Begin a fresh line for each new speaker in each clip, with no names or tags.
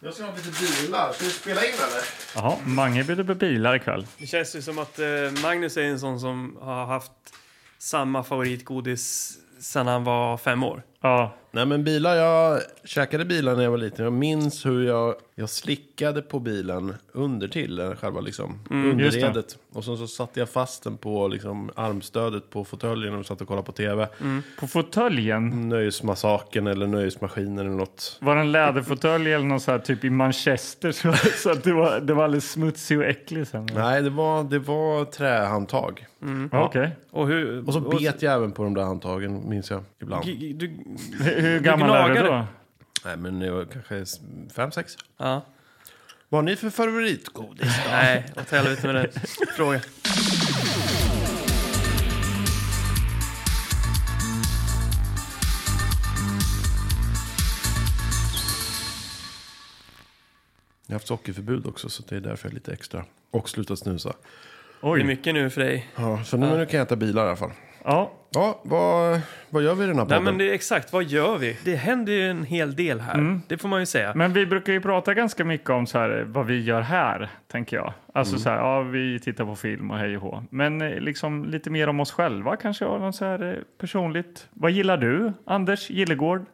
Jag ska ha lite bilar. Ska vi spela in eller?
Jaha, Mange bjuder på bilar ikväll.
Det känns ju som att eh, Magnus är en sån som har haft samma favoritgodis sedan han var fem år.
Ja,
Nej men bilar, jag käkade bilar när jag var liten. Jag minns hur jag, jag slickade på bilen under till eh, själva liksom, underredet. Och sen så satte jag fast den på liksom, armstödet på fåtöljen och satt och kollade på tv.
på fåtöljen.
Nöjesmassakern eller nöjesmaskinen eller något.
Var det en läderfåtölj eller något så här, typ i Manchester? Så, så att det, var, det var alldeles smutsig och äcklig sen.
Mm.
Nej, det var, det var trähandtag.
Ja, Okej.
Och, hur,
Mm, Och så bet jag även på de där handtagen, minns jag ibland.
G- g- Du,
Hur, hur gammal är du
gnagare.
då?
Nej, men jag var kanske fem sex.
ja.
Vad har ni för favoritgodis?
Nej, åt helvete med den frågan.
Jag har haft sockerförbud också, så det är därför jag är lite extra. Och slutat snusa.
Det är
Oj.
mycket nu för dig.
Ja, så nu, men nu kan jag äta bilar i alla fall.
Ja,
Ja, vad, vad gör vi i den här
Nej,
podden?
men det är exakt, vad gör vi? Det händer ju en hel del här. Det får man ju säga.
Mm. men vi brukar ju prata ganska mycket om så här, vad vi gör här, tänker jag. Alltså
Mm.
så här, ja, vi tittar på film och hej och hå. Men eh, liksom lite mer om oss själva kanske, av något så här eh, personligt. Vad gillar du, Anders Gillegård?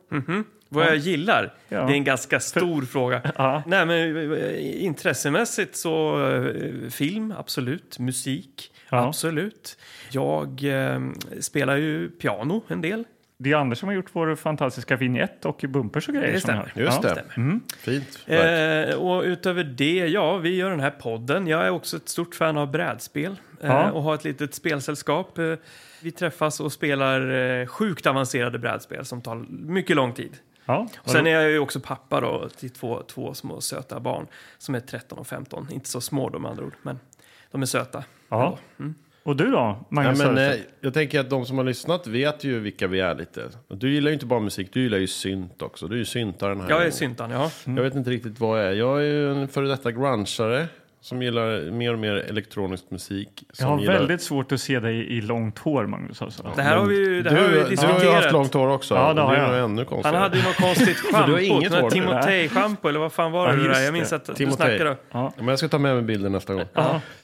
Vad jag gillar?
Ja.
Det är en ganska stor fråga.
Ja.
Nej, men eh, intressemässigt så eh, film, absolut. Musik,
Ja.
absolut. Jag eh, spelar ju piano en del.
Det är Anders som har gjort vår fantastiska vignett och bumpers och grejer.
Det
som ni
stämmer.
hör.
Just
ja.
det. Fint. verkligen.
Eh, och utöver det, ja, vi gör den här podden. Jag är också ett stort fan av brädspel eh,
Ja.
och har ett litet spelsällskap. Eh, vi träffas och spelar eh, sjukt avancerade brädspel som tar mycket lång tid.
Ja.
Och sen är jag ju också pappa då, till två, två små söta barn som är 13 och 15. Inte så små de andra ord, men de är söta.
Ja.
Mm.
Och du då,
Nej,
Magnus?
men,
Söderstedt?
eh, jag tänker att de som har lyssnat vet ju vilka vi är lite. Du gillar ju inte bara musik, du gillar ju synt också. Du är ju syntaren här.
Jag är syntan, ja.
Jag vet inte riktigt vad jag är. Jag är ju en före detta grungeare som gillar mer och mer elektronisk musik. Som
jag har
gillar...
väldigt svårt att se dig i långt hår, Magnus. Alltså.
Det här har vi ju, det här har vi
Du,
ju
du har ju haft
diskuterat.
långt hår också.
Ja, det har
är
jag.
nog ännu konstigare.
Han hade ju något konstigt
du har
schampo,
inget hår nu.
Timotej-schampo eller vad fan var
Ja,
det, det
just
där? Jag minns
det.
att du
Timotej.
snackade om.
Ja.
Ja, Men jag ska ta med mig bilden nästa gång.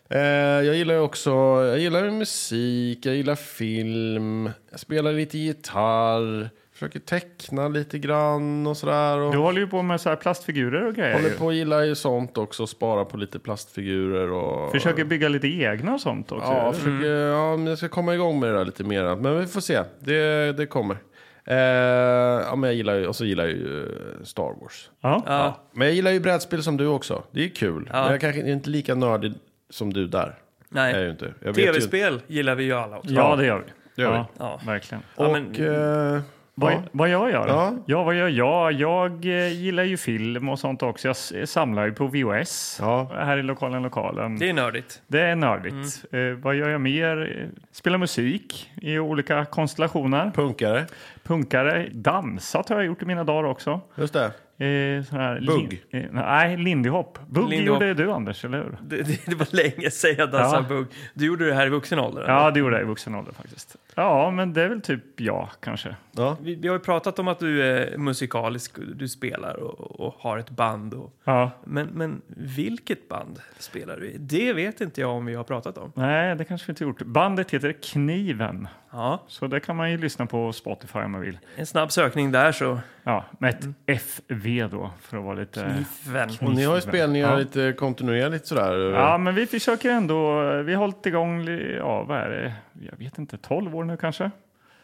Eh, jag gillar ju också, jag gillar ju musik, jag gillar film, jag spelar lite gitarr, försöker teckna lite grann och sådär. Och
Du håller ju på med så här plastfigurer och grejer.
håller på och gillar ju sånt också, spara på lite plastfigurer och...
Försöker bygga lite egna och sånt också. Mm.
Ja, försöker, ja, men jag ska komma igång med det där lite mer. Men vi får se, det, det kommer. Eh, ja, men jag gillar ju, och så gillar jag ju eh, Star Wars.
Ja.
Ja.
Men jag gillar ju brädspel som du också. Det är kul. Men jag kanske inte är inte lika nördig som du där.
Nej.
Jag är ju inte. Jag vet ju inte.
Tv-spel gillar vi ju alla också.
ja, det gör vi.
gör vi.
ja,
Ja.
Verkligen.
Ja,
Och...
men-
eh,
Vad,
ja.
vad jag gör?
Ja.
Ja. ja, vad gör jag? Jag eh, gillar ju film och sånt också. Jag s- eh, samlar ju på VHS
Ja.
här i lokalen, lokalen.
Det Mm. är nördigt.
Det är nördigt. Eh, vad gör jag mer? Eh, Spelar musik i olika konstellationer.
Punkare.
Punkare. Dansat har jag gjort i mina dagar också.
Just det.
Eh, sån här
Bugg.
Lin, eh, nej, Lindy Hop. Bugg
Lindy
gjorde ju du, Anders, eller hur?
Det, det, det var länge sedan jag dansade
Ja.
bugg. Du gjorde det här i vuxen ålder? eller?
Ja, det gjorde jag i vuxen ålder faktiskt. Ja, men det är väl typ jag kanske.
Ja.
Vi, vi har ju pratat om att du är musikalisk, och du spelar och, och har ett band. Och,
Ja.
men, men vilket band spelar du i? Det vet inte jag om vi har pratat om.
Nej, det kanske vi inte gjort. Bandet heter Kniven,
Ja,
så det kan man ju lyssna på Spotify om man vill.
en snabb sökning där så.
Ja, med ett FV då, för att vara lite...
Eh. Kniven.
Och ni har ju spelningar
Ja.
lite kontinuerligt sådär.
Ja, men vi försöker ändå. Vi har hållit igång, ja, vad är det? Jag vet inte, 12 år nu kanske.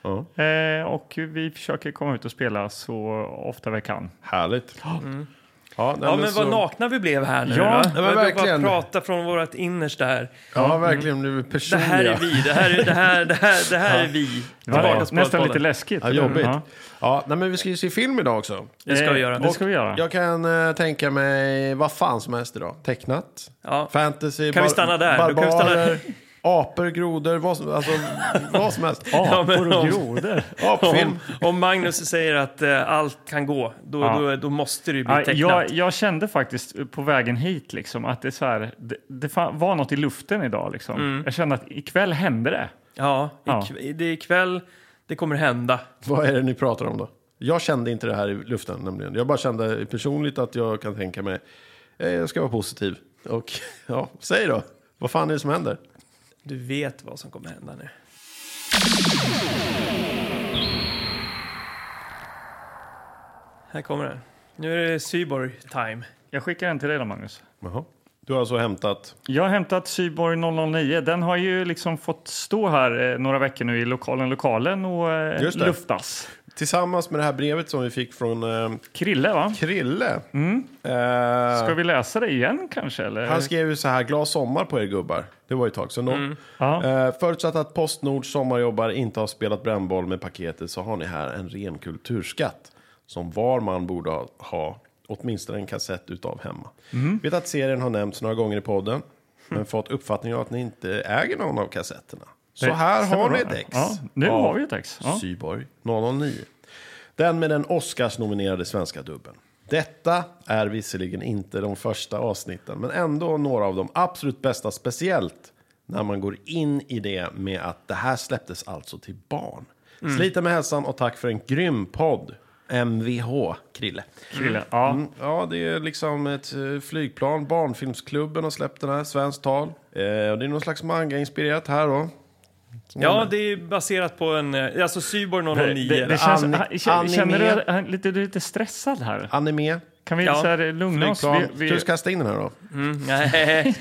Ja.
Eh, och vi försöker komma ut och spela så ofta vi kan.
Härligt. Ja, nej,
Mm. Ja, men
så-
vad nakna vi blev här nu
Ja,
va?
men
Vi har
verkligen.
Bara prata från vårt innersta här.
Ja, verkligen. Nu är vi
Mm. Det
personliga.
här är vi, det här är, det här, det här, det här är vi.
Det var
Tillbaka till
nästan lite
podden.
läskigt.
Ja, jobbigt. Ja. nej, men vi ska ju se film idag också.
Det ska vi göra.
Det ska vi göra.
Jag kan eh, tänka mig vad fan som helst idag. Tecknat,
Ja.
fantasy,
Kan vi stanna där? Då kan vi stanna-
barbarer, apor, grodor, vad som, alltså, vad som helst.
Ja, men
Apor och
om-
grodor.
Apfilm.
Om, om Magnus säger att eh, allt kan gå, då,
Ja.
då, då måste det ju bli
Ja,
tecknat.
jag, jag kände faktiskt på vägen hit liksom, att det, är så här, det, det fa- var något i luften idag. Liksom.
Mm.
Jag kände att ikväll hände det.
Ja,
Ja.
ikv- det är ikväll det kommer hända.
Vad är det ni pratar om då? Jag kände inte det här i luften nämligen. Jag bara kände personligt att jag kan tänka mig, eh, jag ska vara positiv. Och ja, säg då, vad fan är det som händer?
Du vet vad som kommer hända nu. Här kommer den. Nu är det Cyborg time.
Jag skickar en till dig då, Magnus.
Jaha. Du har alltså hämtat,
Jag har hämtat Cyborg 009. Den har ju liksom fått stå här eh, några veckor nu i lokalen, lokalen och eh,
Just det.
luftas.
tillsammans med det här brevet som vi fick från eh,
Krille, va?
Krille.
Mm.
Eh,
Ska vi läsa det igen kanske? Eller?
Han skrev ju så här, glad sommar på er gubbar. Det var ju ett tag sedan. då.
Mm.
Ja.
Eh, förutsatt att Postnords sommarjobbar inte har spelat brännboll med paketet så har ni här en ren kulturskatt. Som var man borde ha, ha åtminstone en kassett utav hemma.
Mhm.
Vet att serien har nämnts några gånger i podden. Men fått uppfattningen av att ni inte äger någon av kassetterna. Så
Det
här
stämmer
har ni
bra.
ett ex.
Ja, nu
av
har vi ett ex. Ja.
Syborg 009. Den med den Oscars-nominerade svenska dubben. Detta är visserligen inte de första avsnitten, men ändå några av de absolut bästa, speciellt när man går in i det med att det här släpptes alltså till barn. Slita med hälsan och tack för en grym podd. MVH, Krille.
Krille. Ja.
Mm, Ja, det är liksom ett eh, flygplan. Barnfilmsklubben har släppt den här, Svenskt tal. Eh, och det är någon slags manga-inspirerat här då.
Ja, det är baserat på en... eh, Alltså Cyborg 009.
Det, det känns,
Ani-
han- känner, känner du
anime.
att han är lite, du är lite stressad här?
Anime,
Kan vi
Ja.
så här, eh, lugna oss?
flygplan.
Vi, vi,
Du ska kasta in den här då.
Mm, nej,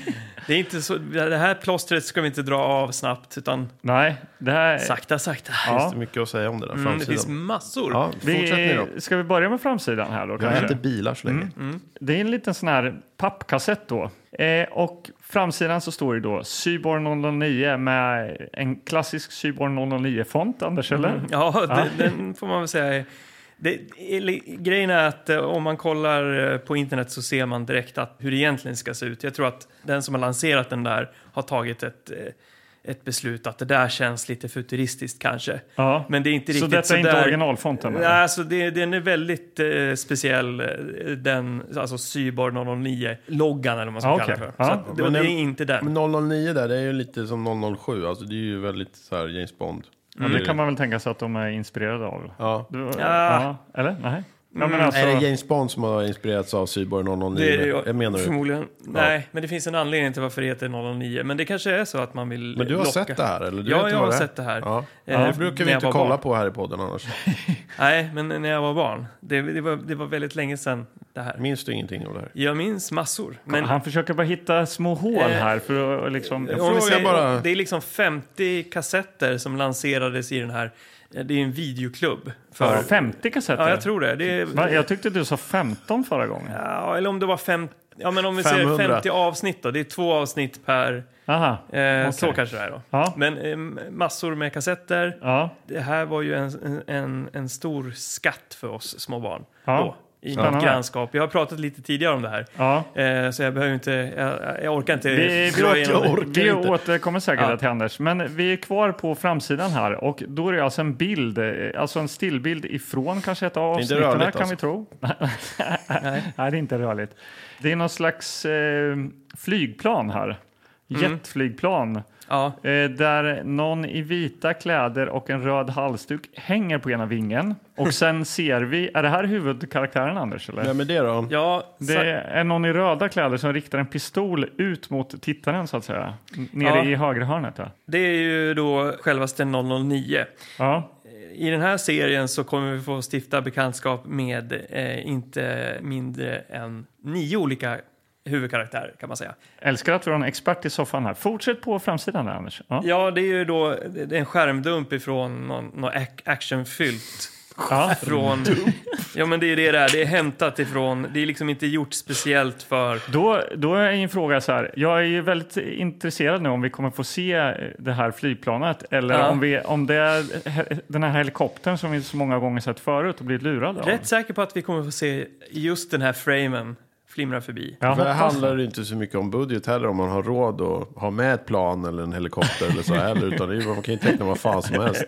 det är inte så... Det här plåstret ska vi inte dra av snabbt, utan
Nej, det här...
sakta, sakta.
finns
Eh. Ja.
det mycket att säga om det där.
Mm, det finns
framsidan.
massor.
Ja, fortsätt ni då.
Vi, ska vi börja med framsidan här då?
Jag har
Kanske?
inte bilar så
Mm,
länge.
Det är en liten sån här pappkassett då. Eh, och framsidan så står det då Cyborg 009 med en klassisk Cyborg 009-font, Anders,
Mm.
eller?
Ja, den, den får man väl säga. är- Det, eller, grejen är att eh, om man kollar eh, på internet så ser man direkt att hur det egentligen ska se ut. Jag tror att den som har lanserat den där har tagit ett, eh, ett beslut att det där känns lite futuristiskt kanske.
Ja.
Men det är inte
så
riktigt
detta är inte
sådär-
originalfonten?
Nej,
eller?
alltså det, den är väldigt eh, speciell, eh, den, alltså Cyborg 009-loggan eller vad man ska
Ja,
kalla
okej.
det för.
Ja.
Så att, det,
Men
det är
den-
inte den.
Men 009 där, det är ju lite som 007. Alltså det är ju väldigt så här James Bond.
Men
Mm.
det kan
Mm.
man väl tänka sig att de är inspirerade av?
Ja.
Du, ja.
Ja. Mm,
Eller? Nej. Ja, men alltså,
Är det James Bond som har inspirerats av Cyborg 009?
Det är det
jag menar du.
förmodligen. Nej, men det finns en anledning till varför det heter 009. Men det kanske är så att man vill
Men du har
locka.
sett det här? Eller? Du
ja,
vet
jag
vad
har
det är?
sett det här.
Ja.
Eh,
Det brukar vi
när jag
inte
var
kolla
barn.
på här i podden annars.
Nej, men när jag var barn. Det, det, var, det var väldigt länge sedan det här.
Minns du ingenting av det här?
Jag minns massor. Men
Han försöker bara hitta små hål
Eh,
här för att liksom...
Jag
om vi
frågar bara.
det är liksom 50 kassetter som lanserades i den här. eh, Det är en videoklubb. För, ja,
50 kassetter?
jag tror det. det är,
Va? Jag tyckte du sa 15 förra gången.
ja, eller om det var 50. Ja, men om vi säger
500.
50 avsnitt då. Det är två avsnitt per...
Aha.
Eh,
Okej.
Så kanske det är då.
Ja.
Men eh, massor med kassetter.
Ja.
Det här var ju en, en, en stor skatt för oss små barn.
Ja.
Då, I
Spännande.
mitt grannskap. Jag har pratat lite tidigare om det här.
ja.
Eh, så jag behöver inte, jag, jag orkar inte.
Vi,
dra
vi,
igenom det.
vi återkommer säkert
Ja.
till Anders, men vi är kvar på framsidan här och då är det alltså en bild, eh, alltså en stillbild ifrån kanske ett av
är inte
avsnitten här, kan vi
rörligt alltså.
tro. Nej, det är inte rörligt. Det är någon slags eh, flygplan här,
Mm.
jetflygplan,
Ja,
eh, där någon i vita kläder och en röd halsduk hänger på ena vingen och sen ser vi, är det här huvudkaraktären Anders? Eller?
Vem är det då?
ja,
Det
sa-
är någon i röda kläder som riktar en pistol ut mot tittaren så att säga. N- Nere
Ja.
i högra hörnet. Ja.
det är ju då självaste 009.
Ja.
I den här serien så kommer vi få stifta bekantskap med eh, inte mindre än nio olika huvudkaraktärer kan man säga.
Älskar att vi har en expert i soffan här. Fortsätt på framsidan där Anders. Ja.
Ja, det är ju då det är en skärmdump ifrån någon, någon ac- actionfyllt.
Ja.
Från, ja men det är det där, det är hämtat ifrån, det är liksom inte gjort speciellt för...
Då, då är en fråga så här. Jag är ju väldigt intresserad nu om vi kommer få se eh, det här flygplanet eller
Ja.
om, vi, om det är he- den här helikoptern som vi så många gånger sett förut och blivit lurade av.
Rätt säker på att vi kommer få se just den här framen flimra förbi.
Jag
För det
hoppas-
handlar det inte så mycket om budget heller om man har råd att ha med ett plan eller en helikopter eller så heller. Utan det är, ju- man kan ju teckna vad fan som helst.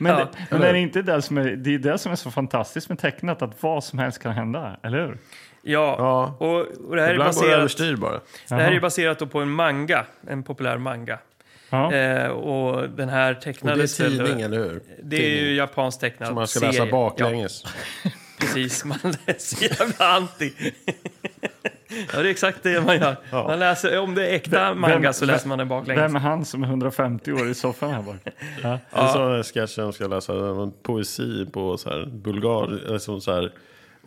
Men,
Ja.
men är det, inte det, som är, det är det som är så fantastiskt med tecknat, att vad som helst kan hända, eller hur?
Ja,
Ja.
Och, och det här är
Ibland går det
baserat...
överstyr bara.
Det här är ju baserat då på en manga, en populär manga.
Ja.
Eh, och den här
Och det är
tecknades väl-
tidning, eller hur?
Det är ju japansk tecknad
Som man ska
serie.
läsa baklänges.
Ja, precis. Man läser jävla anti. ja, det är exakt det man gör. Man läser, om det är äkta
Vem-
manga
vem-
så läser man den baklänges.
Vem är han som är 150 år i soffan här bak? Ja.
Det är sådana där sketcher de ska läsa eh, någon poesi på så här bulgar, eller som så här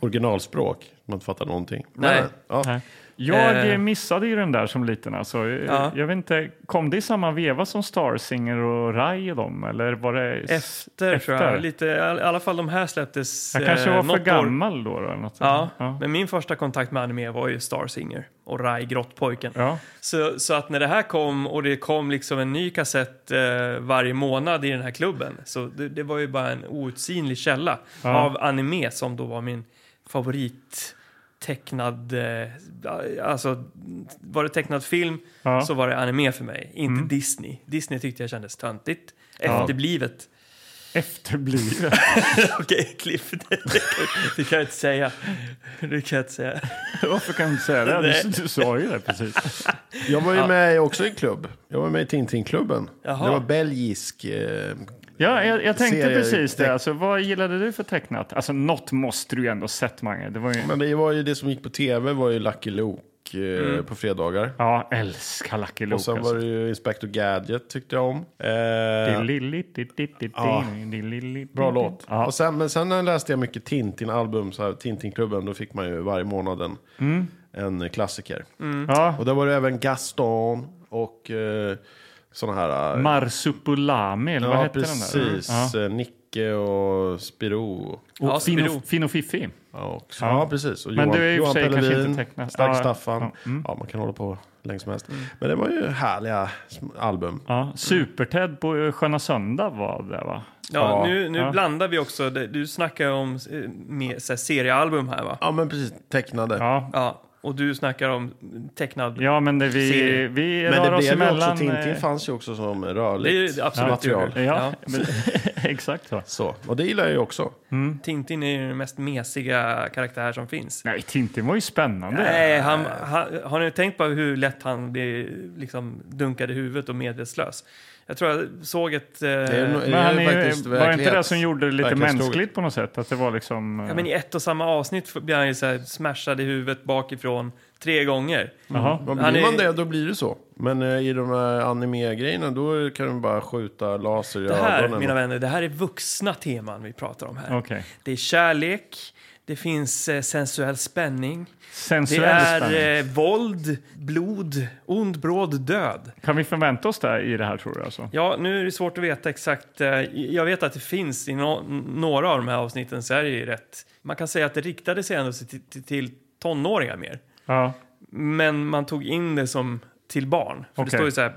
originalspråk. Man inte fattar någonting.
Nej.
Ja.
Nej. Jag
Eh.
eh, missade ju den där som liten. Alltså. Eh,
Ja.
Jag vet inte, kom det i samma veva som Starsinger och Rai och dem? Eller var det s-
Efter, tror jag. Lite, I alla fall de här släpptes
jag kanske
eh,
var
något
för
år.
gammal då. då eller något.
Ja,
Ja.
men min första kontakt med anime var ju Star Singer och Rai Grottpojken.
Ja.
Så, så att när det här kom och det kom liksom en ny kassett eh, varje månad i den här klubben så det, det var ju bara en outsinlig källa
Ja.
av anime som då var min favorit tecknad, eh, alltså var det tecknad film
Ja. Mm.
så var det anime för mig, inte Disney. Disney tyckte jag kändes töntigt, efterblivet.
Efterblivet.
Okej, Cliff, det, det, kan- det kan jag inte säga. Det kan jag inte säga.
Varför kan du inte säga det? Du, du sa ju det precis.
Jag var ju med också i en klubb. Jag var med i Tintin-klubben. Det
Jaha.
var belgisk. Eh,
Ja, jag, jag tänkte
Serie-
precis
teck-
det. Alltså, vad gillade du för tecknat? Alltså, något måste du ju ändå sett, Mange. Det var ju...
men det var ju det som gick på tv var ju Lucky Luke eh,
Mm.
på fredagar.
Ja, älskar Lucky Luke.
Och sen
alltså.
var det ju Inspector Gadget tyckte jag om. Eh, Bra
Bra
låt.
Ja.
Och sen, men sen läste jag mycket Tintin-album, så här, Tintinklubben. Då fick man ju varje månad en,
Mm.
en klassiker.
Ja.
Och där var det även Gaston och eh, sådana här... eh,
Marsupulami, eller vad
ja,
hette den där?
precis.
Ja.
Eh, Nicke och Spiro.
Och
Ja,
fin,
Spiro.
och, fin och fiffig.
Ja, också.
Ja.
ja precis. Och
Men
Johan,
det är i och för
Johan
sig kanske
Pellevin,
inte tecknat.
Stark
Ja,
Staffan. Ja,
ja, mm.
man kan hålla på länge som helst. Men det var ju härliga sm- album.
Ja. Super-Ted på eh, Sköna Söndag var det va?
Ja,
Ja.
nu, nu
Ja.
blandar vi också. det- Du snackar om eh, med, så här, seriealbum här va?
Ja, men precis. Tecknade.
Ja,
Ja, och du snackar om tecknad.
ja men det, vi,
Serie.
vi
Men det
rör oss
blev ju också,
emellan.
Tintin
eh,
fanns ju också som
Det är
rörligt
ju absolut
material.
det.
Ja,
Ja.
Men, exakt så.
Så. Och det gillar jag ju också.
Tintin är ju den mest mesiga karaktär som finns.
Nej, Tintin var ju spännande.
Nej, han, han, har ni tänkt på hur lätt han blir liksom dunkad i huvudet och medvetslös? Jag tror jag såg ett... Eh,
nog-
Men han
Det är
är,
faktiskt
ju- var det inte det
verklighets-
som gjorde det lite
verklighetstroget.
mänskligt på något sätt? Att det var liksom... eh,
ja, men I ett och samma avsnitt blir han ju så här smashad i huvudet bakifrån tre gånger.
jaha.
Men
Han
blir
är-
man det, då blir det så. Men eh, i de här anime-grejerna, då kan de bara skjuta laser i
Det här,
ögonen.
mina vänner, det här är vuxna teman vi pratar om här.
Okej.
Det är kärlek, det finns eh, sensuell spänning, det
Sensuell spänning.
är eh, våld, blod, ond, bråd, död.
Kan vi förvänta oss det i det här tror du? Alltså?
Ja, nu är det svårt att veta exakt. eh, Jag vet att det finns i no några av de här avsnitten så är det ju rätt. Man kan säga att det riktade sig ändå till, till, till tonåringar mer.
Ja.
Men man tog in det som till barn. För Det
Okej.
står ju så här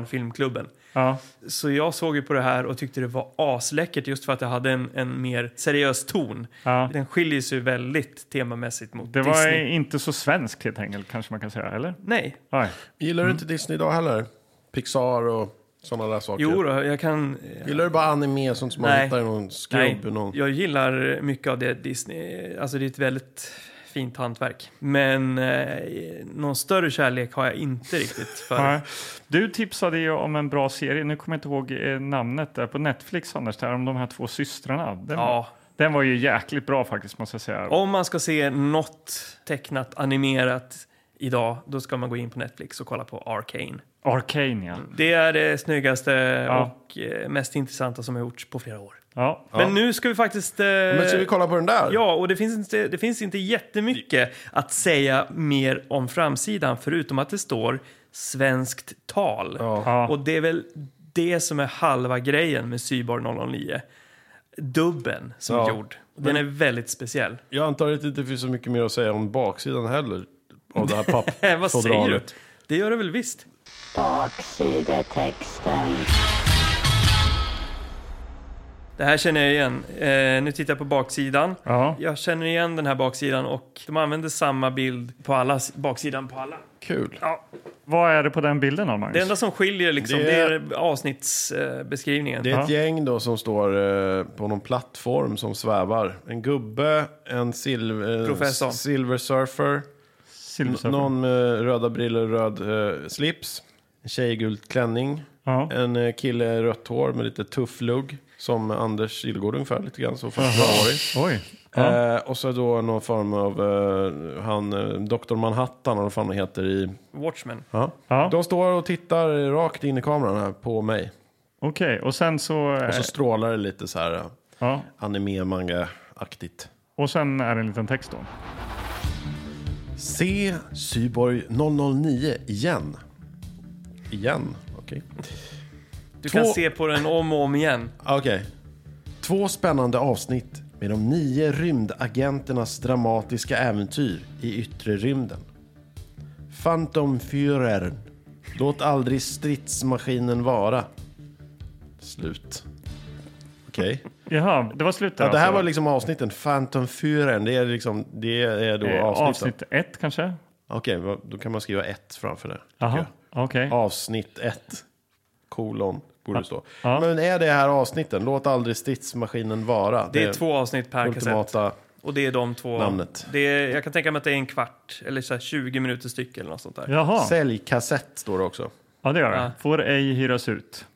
barnfilmklubben.
ja.
Så jag såg ju på det här och tyckte det var asläckert just för att det hade en, en mer seriös ton.
Ja.
Den skiljer sig ju väldigt temamässigt mot
Det var
Disney.
inte så svenskt helt enkelt kanske man kan säga, eller?
Nej,
Nej.
Gillar
Mm.
du inte Disney idag heller? Pixar och sådana där saker?
jo då, jag kan...
Gillar du bara anime, sånt som man
Nej.
hittar i någon
Nej,
skrubb? Någon...
jag gillar mycket av det Disney, alltså det är ett väldigt fint hantverk. Men eh, någon större kärlek har jag inte riktigt för.
Nej. Du tipsade ju om en bra serie, nu kommer jag inte ihåg eh, namnet där på Netflix Anders, där om de här två systrarna. Den,
Ja,
den var ju jäkligt bra faktiskt måste jag säga.
om man ska se något tecknat, animerat idag, då ska man gå in på Netflix och kolla på Arcane.
Arcane ja.
Det är det snyggaste
Ja.
och eh, mest intressanta som har gjorts på flera år.
ja.
Men nu ska vi faktiskt... eh,
Men ska vi kolla på den där?
Ja, och det finns, inte, det finns inte jättemycket att säga mer om framsidan förutom att det står svenskt tal.
Ja.
Och det är väl det som är halva grejen med Cyborg 009. Dubben som
Ja.
är gjord. Den är väldigt speciell.
Jag antar att det inte finns så mycket mer att säga om baksidan heller. Av det här
Eh, vad säger du?
pappfodralet.
Det gör det väl visst?
Baksidetexten.
Det här känner jag igen. Eh, nu tittar jag på baksidan.
Ja.
Jag känner igen den här baksidan och de använder samma bild på alla, s- baksidan på alla.
Kul.
Ja,
Vad är det på den bilden då
det
Magnus?
enda som skiljer liksom,
Det
det
är-
är, avsnittsbeskrivningen.
Det är ett gäng då som står eh, på någon plattform som svävar. En gubbe, en silv- eh,
Professor.
s- silver surfer,
Silver
n-
Surfer.
någon med röda brillor, röd eh, slips, en tjej i gul klänning,
Ja.
En eh, kille i rött hår med lite tuff lugg. Som Anders Gillgård ungefär, lite grann så fast rörig.
Oj. Ja.
Eh, och så då någon form av, eh, han, eh, Dr. Manhattan eller vad fan han heter i...
Watchmen.
Ja.
Ja.
De står och tittar rakt in i kameran här på mig.
Okej, och sen så... eh,
Och så strålar det lite så här eh,
ja.
anime-manga-aktigt.
och sen är det en liten text då.
Se Cyborg 009 igen. Igen? Okej.
Du
Två-
kan se på den om och om igen.
Okej. Två spännande avsnitt med de nio rymdagenternas dramatiska äventyr i yttre rymden. Phantom Führer. Låt aldrig stridsmaskinen vara. Slut. Okej.
Jaha, det var slutet
Ja, det här
alltså.
var liksom avsnitten. Phantom Führer, det är, liksom, det är då
Eh,
avsnitten.
avsnitt ett kanske?
Okej, vad- då kan man skriva ett framför det. tycker
Jaha,
jag.
okej.
Avsnitt 1, kolon, borde det stå.
Ja.
Men är det här avsnitten, låt aldrig stridsmaskinen vara.
Det är två avsnitt per kassett.
ultimata.
Och det är de två.
Namnet.
Det är, jag kan tänka mig att det är en kvart eller så här 20 minuter styck eller något sånt där.
Jaha,
Sälj kassett står det också.
ja det gör
Ja.
det. Får ej hyras ut.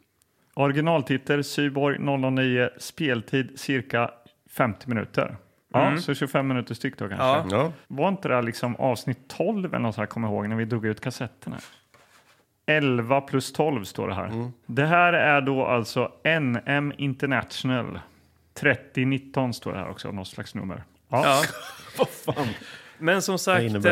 Originaltitel Cyborg 009, speltid cirka 50 minuter. Ja, så 25 minuter styck då kanske.
Mm. Ja.
Ja.
Var inte det här liksom avsnitt 12 eller något så här, kommer jag ihåg, när vi drog ut kassetterna? 11 plus 12 står det här.
Mm.
Det här är då alltså NM International. 3019 står det här också, något slags nummer. Ja,
Ja. Men som
Vad
sagt, eh,
innebär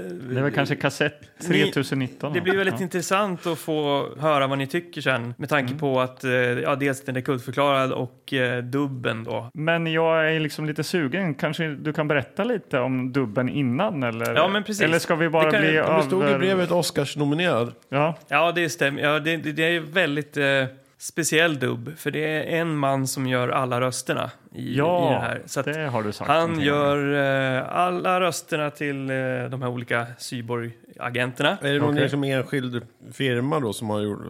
Det är väl kanske kassett 3019.
Det blir väldigt
ja.
intressant att få höra vad ni tycker sen med
Mm.
tanke på att eh, ja, dels den är kultförklarad och eh, dubben då.
Men jag är liksom lite sugen. Kanske du kan berätta lite om dubben innan? Eller,
Ja, men precis.
eller ska vi bara
Det kan-
bli
det
Det stod i
över...
brevet Oscars-nominerad.
Ja,
Ja, det stämmer. Ja, det, det det är väldigt eh, speciell dubb för det är en man som gör alla rösterna i, i det
ja
här. Så att
det har du sagt.
han
någonting om.
gör eh, alla rösterna till eh, de här olika cyborg-agenterna.
Är det någon
Okej.
liksom enskild firma då som har gjort,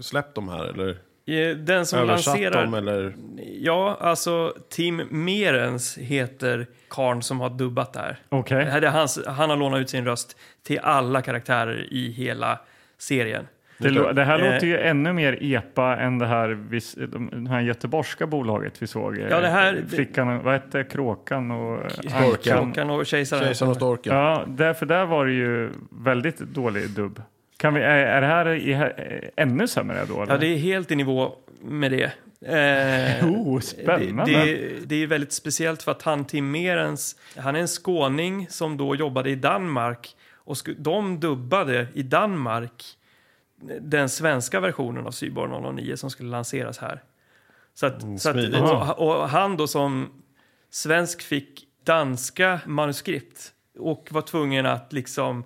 släppt de här? Eller
Eh, Den som
översatt
lanserar...
dem? Eller?
Ja, alltså Tim Merens heter karn som har dubbat det här.
Okej.
Det här är hans, han har lånat ut sin röst till alla karaktärer i hela serien.
Det, lo- det här
Eh.
låter ju ännu mer epa än det här, vis, de här göteborgska bolaget vi såg. eh,
Ja, det här-
Flickan, vad hette Kråkan och... Ankan.
Kråkan och kejsaren.
Kejsaren och storken?
Ja, därför där var det ju väldigt dålig dubb. Kan vi, är, är det här i, eh, ännu sämre då? Eller?
Ja, det är helt i nivå med det. Eh,
Oh, spännande.
Det, det, det är väldigt speciellt för att han Tim Merens, han är en skåning som då jobbade i Danmark och sku, de dubbade i Danmark den svenska versionen av Cyborg 009 som skulle lanseras här. Så att,
Oh,
så att,
smidigt.
och, och han då som svensk fick danska manuskript och var tvungen att liksom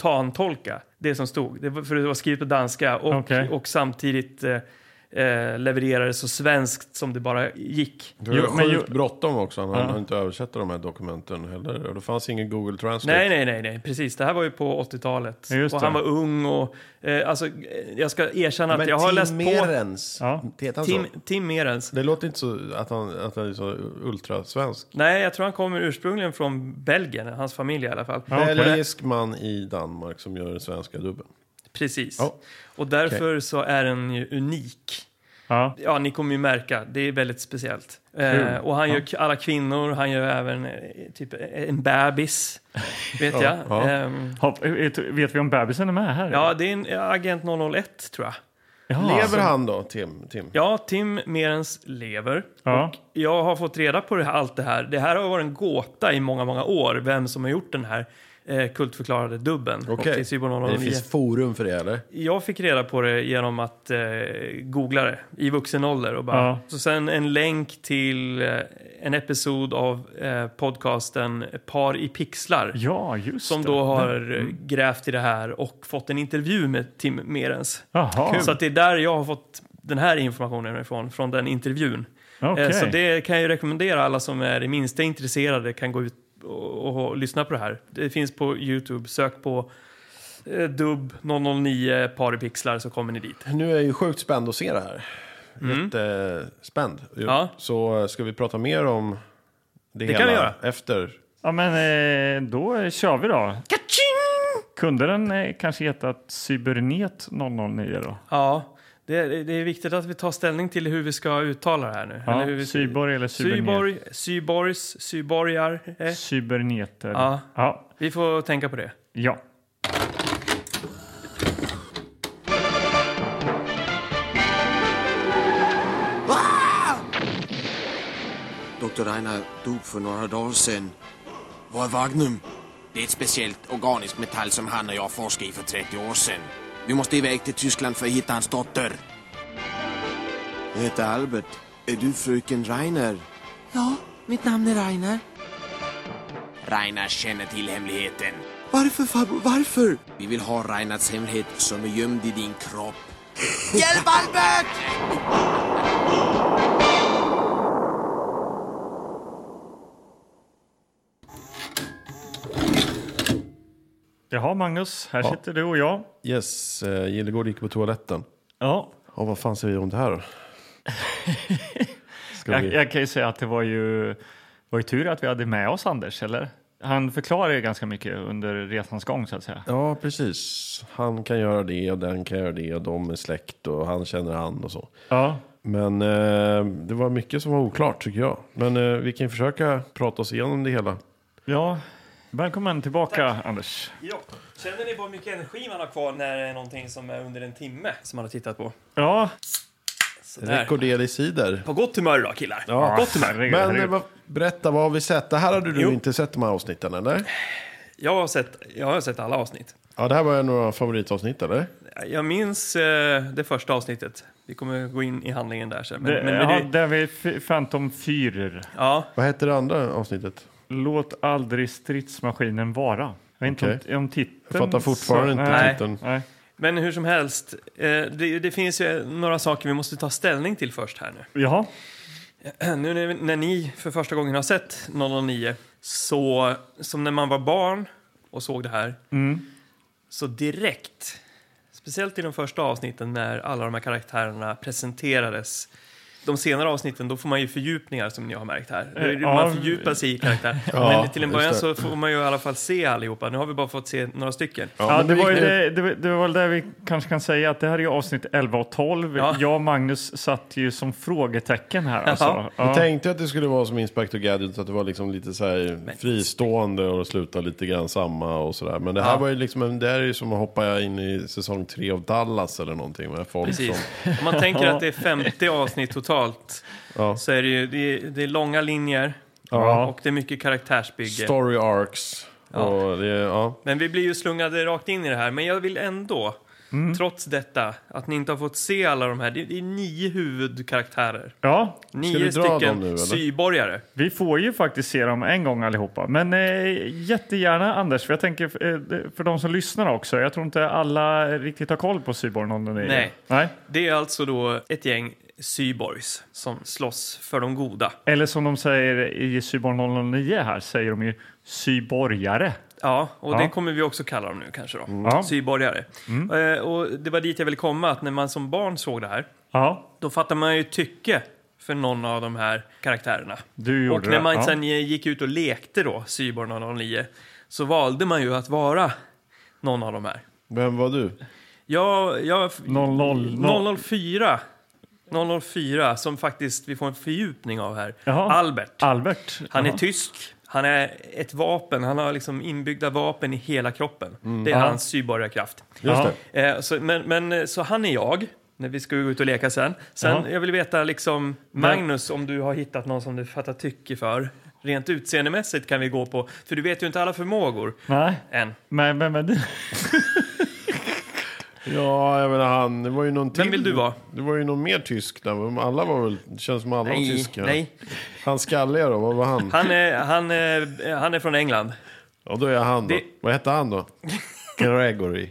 simultantolka det som stod. Det var, för det var skrivet på danska och,
Okej.
och samtidigt eh, eh, leverera det så svenskt som det bara gick.
Det var
Jo, men
sjukt
ju-
bråttom också. Han hann
Ja.
inte översätta de här dokumenten heller. Och Det fanns ingen Google Translate.
Nej, nej, nej, nej, precis. Det här var ju på 80-talet.
Ja, just
och han
det.
var ung och... Eh, alltså, eh, jag ska erkänna att jag har läst på...
Merens, alltså.
Ja.
heter han så?
Tim, Tim Merens.
Det låter inte så att han, att han är så ultrasvensk.
Nej, jag tror han kommer ursprungligen från Belgien, hans familj i alla fall.
Ja, okej.
Belgisk man i Danmark som gör den svenska dubben.
Precis.
Ja.
Och därför så är den ju unik.
ja.
Ja, ni kommer ju märka. Det är väldigt speciellt. Eh,
Kul.
och han gör k- alla kvinnor, han gör även eh, typ en bebis. Vet
Ja,
jag.
ja.
Ehm,
Hopp, vet- vet vi om bebisen är med här?
Ja, det är en eh, Agent 001 tror jag.
Jaha.
Lever han då, Tim? Tim?
Ja, Tim Merens lever.
Ja.
Jag har fått reda på det här, allt det här. Det här har varit en gåta i många, många år. Vem som har gjort den här eh, kultförklarade dubben. Och
Okej.
till Cyborg
Det
009.
finns forum för det, eller?
Jag fick reda på det genom att eh, googla det i vuxen ålder. Och bara,
Ja.
Så sen en länk till eh, en episod av eh, podcasten Par i pixlar.
ja, just
Som
det.
då har eh, grävt i det här och fått en intervju med Tim Merens.
Jaha,
Så att det är där jag har fått den här informationen ifrån, från den intervjun.
okej.
Eh, Så det kan jag ju rekommendera alla som är det minsta intresserade kan gå ut och, och, och lyssna på det här. Det finns på Youtube, sök på eh, dubb 009 paripixlar så kommer ni dit.
Nu är jag ju sjukt spänd att se det här. Jättespänd.
Mm. Ja.
Så eh, ska vi prata mer om det,
Det
hela
kan vi göra.
efter?
Ja, men eh, då kör vi då. Kunde den eh, kanske heta Cybernet 009 då?
Ja, Det, det är viktigt att vi tar ställning till hur vi ska uttala det här nu.
Ja,
hur vi,
cyborg eller cybernet.
Cyborg, cyborgs, cyborgar. Eh.
Cyberneter.
Ja.
ja.
Vi får tänka på det.
Ja.
Dr. Einar dog för några dagar sedan. Vad är Vagnum? Det är ett speciellt organiskt metall som han och jag forskade i för 30 år sedan. Vi måste iväg till Tyskland för att hitta hans dotter. Jag heter Albert. Är du fröken Reiner? Ja, mitt namn är Reiner. Reiner känner till hemligheten. Varför, farbror? Varför? Vi vill ha Reiners hemlighet som är gömd i din kropp. Hjälp, Albert!
Jaha, Magnus. Här sitter du och jag.
Yes, eh, Gillegård gick på toaletten.
Ja.
Ja, vad fan säger vi om det här då? Ska
Jag,
vi-
jag kan ju säga att det var ju, var ju tur att vi hade med oss Anders, eller? Han förklarar ju ganska mycket under resans gång, så att säga.
Ja, precis. Han kan göra det och den kan göra det och de är släkt och han känner han och så.
Ja.
Men eh, det var mycket som var oklart tycker jag. Men eh, vi kan ju försöka prata oss igenom det hela.
ja. Välkommen tillbaka, Anders.
Ja. Känner ni vad mycket energi man har kvar när det är någonting som är under en timme som man har tittat på?
Ja.
Sådär.
Rekorderlig sidor.
På gott humör idag killar.
Ja.
Gott humör.
herregud,
Men eh,
herregud.
vad- berätta, vad har vi sett? Det här hade du
Jo.
inte sett de här avsnitten eller?
Jag har, sett, jag har sett alla avsnitt.
Ja, det här var en av våra favoritavsnitt eller?
Jag minns eh, det första avsnittet. Vi kommer gå in i handlingen där sen. Men,
det,
men,
ja,
det,
där vi f- Phantom 4.
ja,
Vad hette det andra avsnittet?
Låt aldrig stridsmaskinen vara. Jag vet inte
Okej.
om, om titeln...
Jag fattar fortfarande
sa-
inte
nej,
titeln.
Nej.
men hur som helst. Eh, det, det finns ju några saker vi måste ta ställning till först här nu.
Jaha.
Nu när, när ni för första gången har sett 009, så som när man var barn och såg det här,
Mm.
så direkt, speciellt i de första avsnitten när alla de här karaktärerna presenterades, de senare avsnitten, då får man ju fördjupningar som ni har märkt här. Det är ju-
Eh, ja.
Man fördjupar sig i karaktär.
Ja,
Men till en
just
början
det.
så får man ju i alla fall se allihopa. Nu har vi bara fått se några stycken.
Ja,
men
det, var ju
gick nu.
det, det, var- det var väl där vi kanske kan säga att det här är ju avsnitt 11 och 12.
Ja.
Jag och Magnus satt ju som frågetecken här.
Ja.
Alltså.
Jag
Ja.
tänkte att det skulle vara som Inspector Gadget, att det var liksom lite så här fristående och sluta lite grann samma och sådär. Men det här
Ja.
var ju liksom, en- det här är ju som att hoppa in i säsong tre av Dallas eller någonting med folk
Precis.
som...
Om man tänker att det är 50 avsnitt totalt
Ja.
så är det ju det är, det är långa linjer
Ja.
och det är mycket karaktärsbygge.
Story arcs. Och det, ja.
Men vi blir ju slungade rakt in i det här. Men jag vill ändå,
Mm.
trots detta, att ni inte har fått se alla de här. Det det är nio huvudkaraktärer.
Ja,
du
Nio
dra dem
stycken
nu, eller?
syborgare.
vi får ju faktiskt se dem en gång allihopa. Men eh, jättegärna Anders, för jag tänker eh, för de som lyssnar också. Jag tror inte alla riktigt har koll på Cyborg 09.
Nej.
Nej.
Det är alltså då ett gäng syborgs som slåss för de goda.
Eller som de säger i Cyborg 009 här, säger de ju cyborgare.
Ja, och
Ja.
det kommer vi också kalla dem nu kanske då.
Mm.
Ja.
Syborgare. Eh, och det var dit jag ville komma, att när man som barn såg det här,
Ja,
då fattar man ju tycke för någon av de här karaktärerna.
du gjorde
Och när man
det.
sen gick ut och lekte då, Cyborg 009, så valde man ju att vara någon av de här.
Vem var du?
Jag, jag,
000.
004, 004, som faktiskt vi får en fördjupning av här.
Jaha.
Albert.
ja. Albert.
Han är
Jaha.
tysk. Han är ett vapen. Han har liksom inbyggda vapen i hela kroppen. Det är
Ja.
hans cyborgarkraft.
Just
Ja.
det.
Eh, så, men, men eh, så han är jag. När vi ska gå ut och leka sen. Sen
Ja.
jag vill veta liksom Magnus om du har hittat någon som du fattar tycke för. Rent utseendemässigt kan vi gå på, för du vet ju inte alla förmågor
Nej,
än.
men, men, men,
Ja, jag menar han, det var ju någon till.
Vem vill du vara?
Det var ju någon mer tysk där. men Alla var väl, det känns som alla var
Nej,
tyska.
nej.
Han skalliga då, vad var han?
Han, är, han, är, han är från England.
Ja, då är jag han då.
Det-
Vad hette han då? Gregory.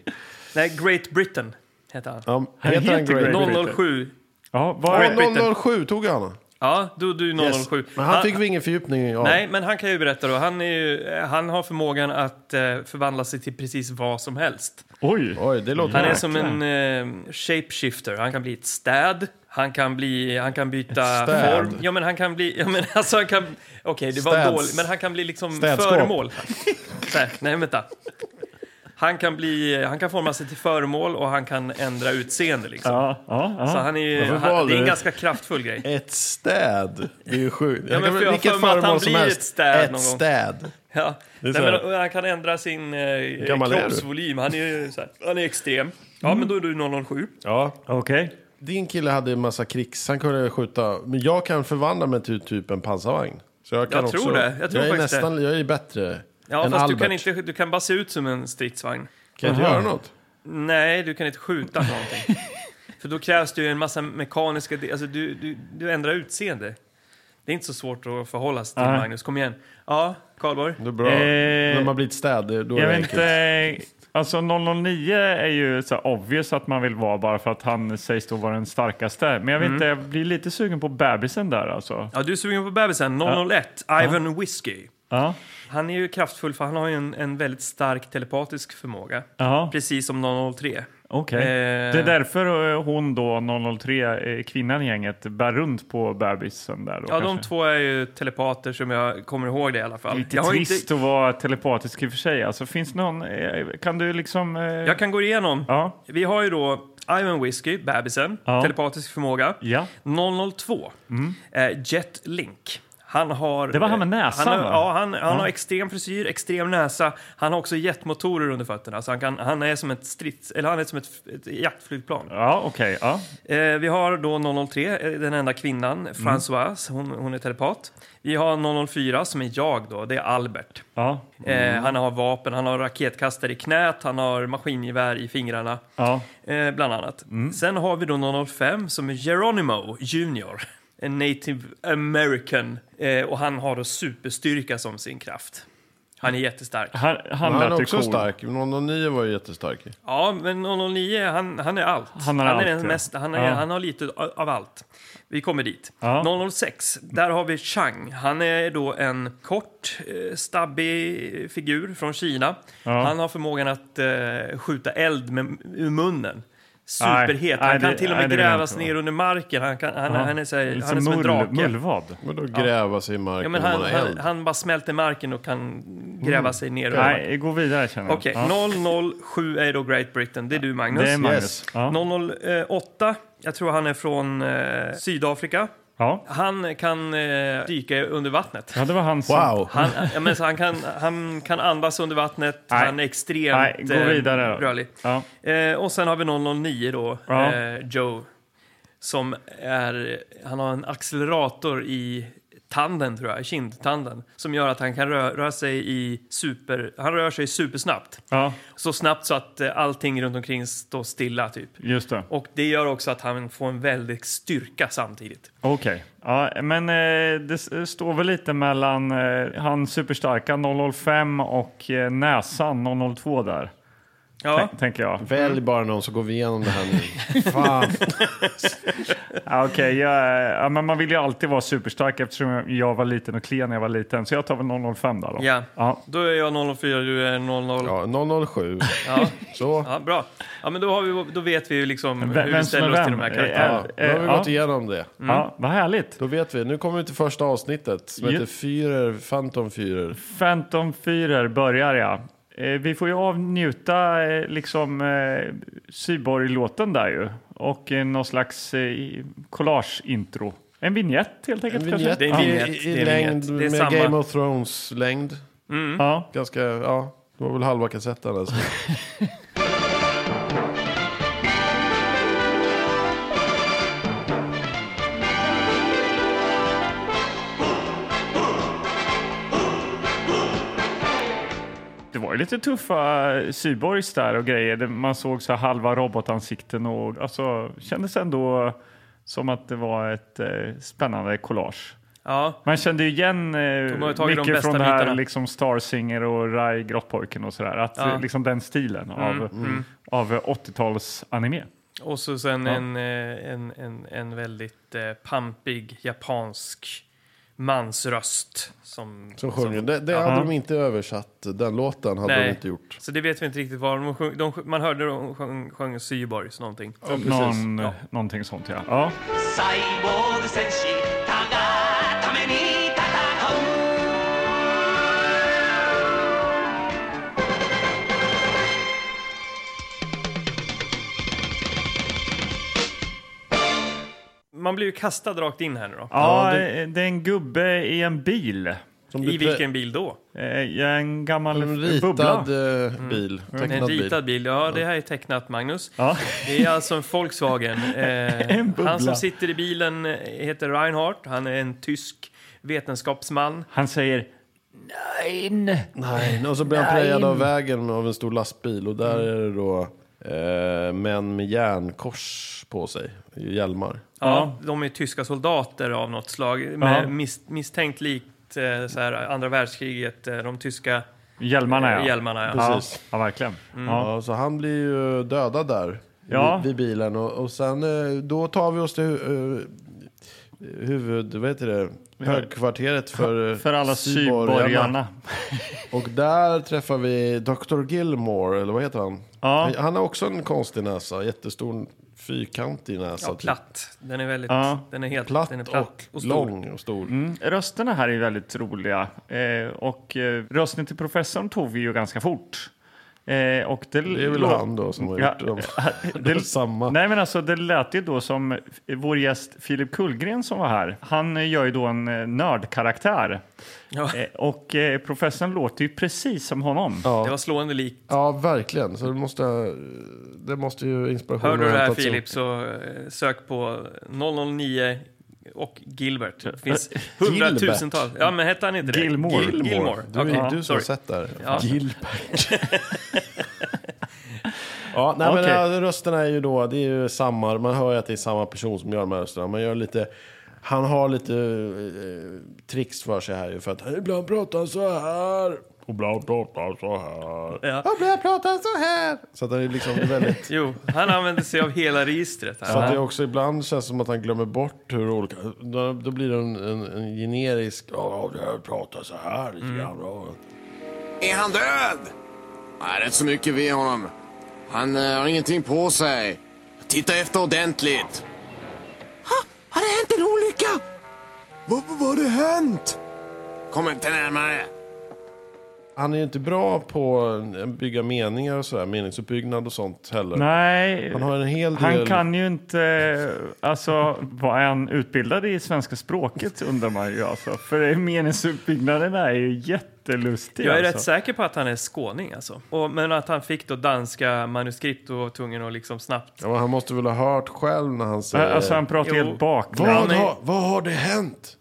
Nej, Great Britain heter han.
Ja,
Han
heter han
heter
Gregory?
Gregory.
007.
ja, vad
Great Britain.
Åh, 007 tog han.
Ja, du, du 007.
Men han fick väl ingen fördjupning av?
Nej, men han kan ju berätta då. Han, är ju, eh, han har förmågan att eh, förvandla sig till precis vad som helst.
Oj.
Oj, det låter...
Han är
Jäklar.
som en eh, shapeshifter. Han kan bli ett städ. Han kan, bli, han kan byta
Ett städ?
form. Ja, men han kan bli... Ja, men alltså han kan... Okej, det var
Städs-
dåligt. Men han kan bli liksom
Städskåp.
föremål. Så här, Nej, vänta. Han kan, bli, han kan forma sig till föremål och han kan ändra utseende. Liksom.
Ja, ja, ja.
Så han är, ju-
Varför
han,
valde
det är en
du-
ganska kraftfull grej.
Ett städ. Det är ju sjukt.
men för jag har för mig att han blir ett städ någon
Ett
gång.
städ.
Ja.
är
Nej,
så här.
men, och han kan ändra sin eh,
gammal är du?
kroppsvolym. Han är, ju så här, han är extrem. Ja, men då är du 007.
Ja.
Okej.
Din kille hade en massa krigs... Han kunde skjuta. Men jag kan förvandla mig till typ en pansarvagn. Så jag kan
Jag tror
också,
det. Jag tror
är
faktiskt det.
nästan, Jag är bättre
Ja,
än
fast
Albert.
du kan, inte, du kan bara se ut som en stridsvagn.
Kan jag inte
Aha.
göra något?
Nej, du kan inte skjuta på någonting. För då krävs det ju en massa mekaniska... de- Alltså, du, du, du ändrar utseende. Det är inte så svårt att förhålla sig till,
Nej.
Magnus. Kom igen. Ja, Karlborg.
Det är bra.
Eh,
När man blir ett städ, det- då är
Jag
det
vet
enkelt.
inte. Alltså 009 är ju så här obvious att man vill vara bara för att han sägs då vara den starkaste. Men jag vet inte, jag blir lite sugen på bebisen där alltså.
Ja, du är sugen på bebisen. 001, Ivan Whiskey.
Ja,
Han är ju kraftfull för han har ju en, en väldigt stark telepatisk förmåga.
ja
Precis som 003.
okej.
Eh.
Det är därför eh, hon då, 003, eh, kvinnan i gänget, bär runt på bebisen där då
Ja, de
kanske.
två är ju telepater som jag kommer ihåg det i alla fall.
Lite
jag, har ju
trist att vara telepatisk i och för sig. Alltså, finns det någon, eh, kan du liksom... eh,
jag kan gå igenom.
Ja,
Vi har ju då Ivan Whiskey, bebisen,
Ja.
telepatisk förmåga.
ja.
002, eh, Jet Link. Han har, eh,
Det var han med näsan,
han, har-
va?
Ja, han, han har extrem frisyr, extrem näsa. Han har också jetmotorer under fötterna. Så han, kan, han är som ett, strids, eller han är som ett, ett jaktflygplan.
Ja, okej. ja.
Eh, vi har då 003, eh, den enda kvinnan,
Mm.
Françoise, hon, hon är telepat. Vi har 004 som är jag då, det är Albert.
Ja, Mm.
Eh, han har vapen, han har raketkastare i knät, han har maskingevär i fingrarna.
ja.
Eh, bland annat. Sen har vi då 005 som är Geronimo Junior. En native american. Eh, och han har då superstyrka som sin kraft. Han är jättestark.
Han, han,
Han är
lät ju
också
cool.
stark. Någon nio var ju jättestark.
Ja, men 009, han, han är allt.
Han har
han,
allt,
är den
ja.
mest, han, är,
Ja.
han har lite av av allt. Vi kommer dit.
Ja.
006, där har vi Chang. Han är då en kort, eh, stabbig figur från Kina.
Ja.
Han har förmågan att eh, skjuta eld med, ur munnen. Superhet. Han
nej,
kan
det-
till och
nej,
med
det vill jag
grävas
inte
ner under marken. Han, kan, han,
Ja.
han är, så här,
Lite
han är som en
mull-
drake.
Mullvad.
Men då gräva sig i marken
Ja, men
om
han,
man har eld.
han, han bara smälter marken och kan gräva sig ner. under marken.
Mm. Nej, gå vidare känner jag.
Okej,
Ja.
007 är då Great Britain. Det är du, Magnus.
Det är Magnus.
Yes.
Ja.
008, jag tror han är från eh, Sydafrika.
Ja.
Han kan eh, dyka under vattnet.
ja, det var han som...
Wow!
Han, ja, men, så han, kan, han kan andas under vattnet,
Nej.
han är extremt
Nej, gå
eh,
vidare då.
rörlig.
Ja.
Eh, och sen har vi 009 då,
Ja.
eh, Joe, som är, han har en accelerator i tanden tror jag, i kindtanden, som gör att han kan rö- röra sig i super, han rör sig supersnabbt.
ja,
Så snabbt så att eh, allting runt omkring står stilla typ.
just det.
Och det gör också att han får en väldig styrka samtidigt.
Okej. Ja, men eh, det s- står väl lite mellan eh, han superstarka 005 och eh, näsan 002 där,
Ja,
tän- tänker jag.
Välj
Mm.
bara någon så går vi igenom det här nu. Fan.
Ja, Okej, jag är- ja, men man vill ju alltid vara superstark eftersom jag- jag var liten och klen när jag var liten. Så jag tar väl 005 där då.
Ja.
Ja.
då är jag 004, du är 00. Ja,
Ja, 007.
ja.
Så.
bra. Ja, men då, har vi, då vet vi ju liksom hur vi
vem
ställer
som
oss
är
till de här
vem?
karaktärerna.
Ja, nu har vi
Eh,
gått
ja.
igenom det.
Mm.
ja, vad härligt.
Då vet vi. Nu kommer vi till första avsnittet som
Ja.
heter Führer, Phantom Führer.
Phantom 4 börjar ja. Eh, vi får ju avnjuta eh, liksom eh, Syborg-låten där ju. Och eh, någon slags eh, collage-intro. En vignett helt enkelt.
En
kanske?
vignett
Det är en
i-
vignett,
i,
det är en
längd
vignett. Det är
med
samma.
Game of Thrones-längd.
Ja.
Ganska, ja. Det var väl halva kassetten alltså.
Det var ju lite tuffa eh, Syborgs där och grejer. Det- Man såg så här halva robotansikten och alltså kändes ändå som att det var ett eh, spännande collage.
Ja,
Man kände ju igen
De har ju
eh,
tagit de
mycket
bästa
från det här
bitarna.
liksom Star Singer och Rai Grottpojken och sådär. Att
Ja. Mm,
eh, liksom den stilen av, av 80-tals anime.
och så sen en, eh, en, en, en väldigt eh, pampig japansk mansröst. Som,
Som sjunger. Det, det hade de inte översatt. Den låten hade de
Nej.
inte gjort.
Så det vet vi inte riktigt vad de sjöng. De, sjöng- man hörde de sjöng, sjöng Syborgs någonting.
Någon, eh, Någonting sånt ja. ja.
サイボーグ戦士たがために戦う
man blir ju kastad rakt in här nu då.
Ja, eh,
Ja,
det... är en gubbe i en bil.
Som
I
trä-
vilken bil då?
Eh, En gammal
En
bubbla.
ritad eh, bil.
Mm. En
Tecknad bil.
ritad bil. Ja, det här är tecknat, Magnus.
Ja.
Det är alltså en Volkswagen. Eh,
En bubbla.
han som sitter i bilen eh, heter Reinhardt. Han är en tysk vetenskapsman.
Han säger nej.
Nej, och så blir han prejad av vägen av en stor lastbil. Och
Mm.
där är det då eh, män med järnkors på sig. Hjälmar.
Ja, de är tyska soldater av något slag. Med
Ja.
mis, misstänkt likt eh, så här, andra världskriget, eh, de tyska
Hjälmarna ja.
eh, hjälmarna. Ja.
Ja,
Precis.
ja verkligen. Ja.
Ja, så han blir ju dödad där
Ja.
vid, vid bilen. Och, och sen eh, då tar vi oss till hu- eh, huvud... Vad heter det? Högkvarteret för, eh,
För alla sydborgarna.
Och där träffar vi Dr. Gilmore, eller vad heter han?
Ja.
Han- Han har också en konstig näsa, jättestor fyrkantig näsa.
Ja,
typ.
platt. Den är väldigt...
Ja.
Den är helt...
platt,
den är
och, lång och stor.
Mm, Rösterna här är väldigt roliga. Eh, och eh, rösten till professorn tog vi ju ganska fort. Eh, och det,
Det är väl
lå-
han då som har
Ja,
gjort dem.
det-
Det är samma.
Nej, men alltså, det lät ju då som eh, vår gäst Filip Kullgren som var här. Han eh, gör ju då en eh, nördkaraktär.
Ja,
Eh, och eh, professorn låter ju precis som honom.
det var slående likt.
Ja, verkligen. Så det måste, det måste ju inspirationen
Hör du det
ha
här
hämtats
Filip så eh, sök på 009 och Gilbert. Det finns hundratusentals. Ja, men hette han inte det?
Gilmore.
Gil-
från-
Gilmore.
Du, är-
Okej,
du som
sorry.
har sett det här.
Ja.
Gilbert. ja, nej, men
Okej.
äh, rösterna är ju då, det är ju samma, man hör ju att det är samma person som gör de här rösterna. Man gör lite, han har lite eh, tricks för sig här ju, för att ibland pratar han så här. Och ibland pratar han så här.
Ja.
Och ibland pratar han så här. Så att det är liksom väldigt...
Jo, han använder sig av hela registret.
Så att
Här.
det också ibland känns som att han glömmer bort hur olika... Då, då blir det en, en, en generisk... Ja, jag pratar så här lite grann.
Mm.
ja."
Är han död? Nej, rätt så mycket vid honom. Han eh, har ingenting på sig. Titta efter ordentligt. Ha, har det hänt en olycka? Vad vad har det hänt? Kom inte närmare.
Han är ju inte bra på att bygga meningar och sådär, meningsuppbyggnad och sånt heller.
Nej,
Han har en hel del...
han kan ju inte... Alltså, vad är han utbildad i svenska språket undrar man ju alltså. För meningsuppbyggnaden är ju jättelustig.
Jag är rätt
alltså.
säker på att han är skåning alltså. Och, men att han fick då danska manuskript och var tvungen att liksom snabbt...
Ja, men han måste väl ha hört själv när han säger...
Alltså han pratar
Jo.
helt
vad,
bakvänt.
men-
har, vad har det hänt?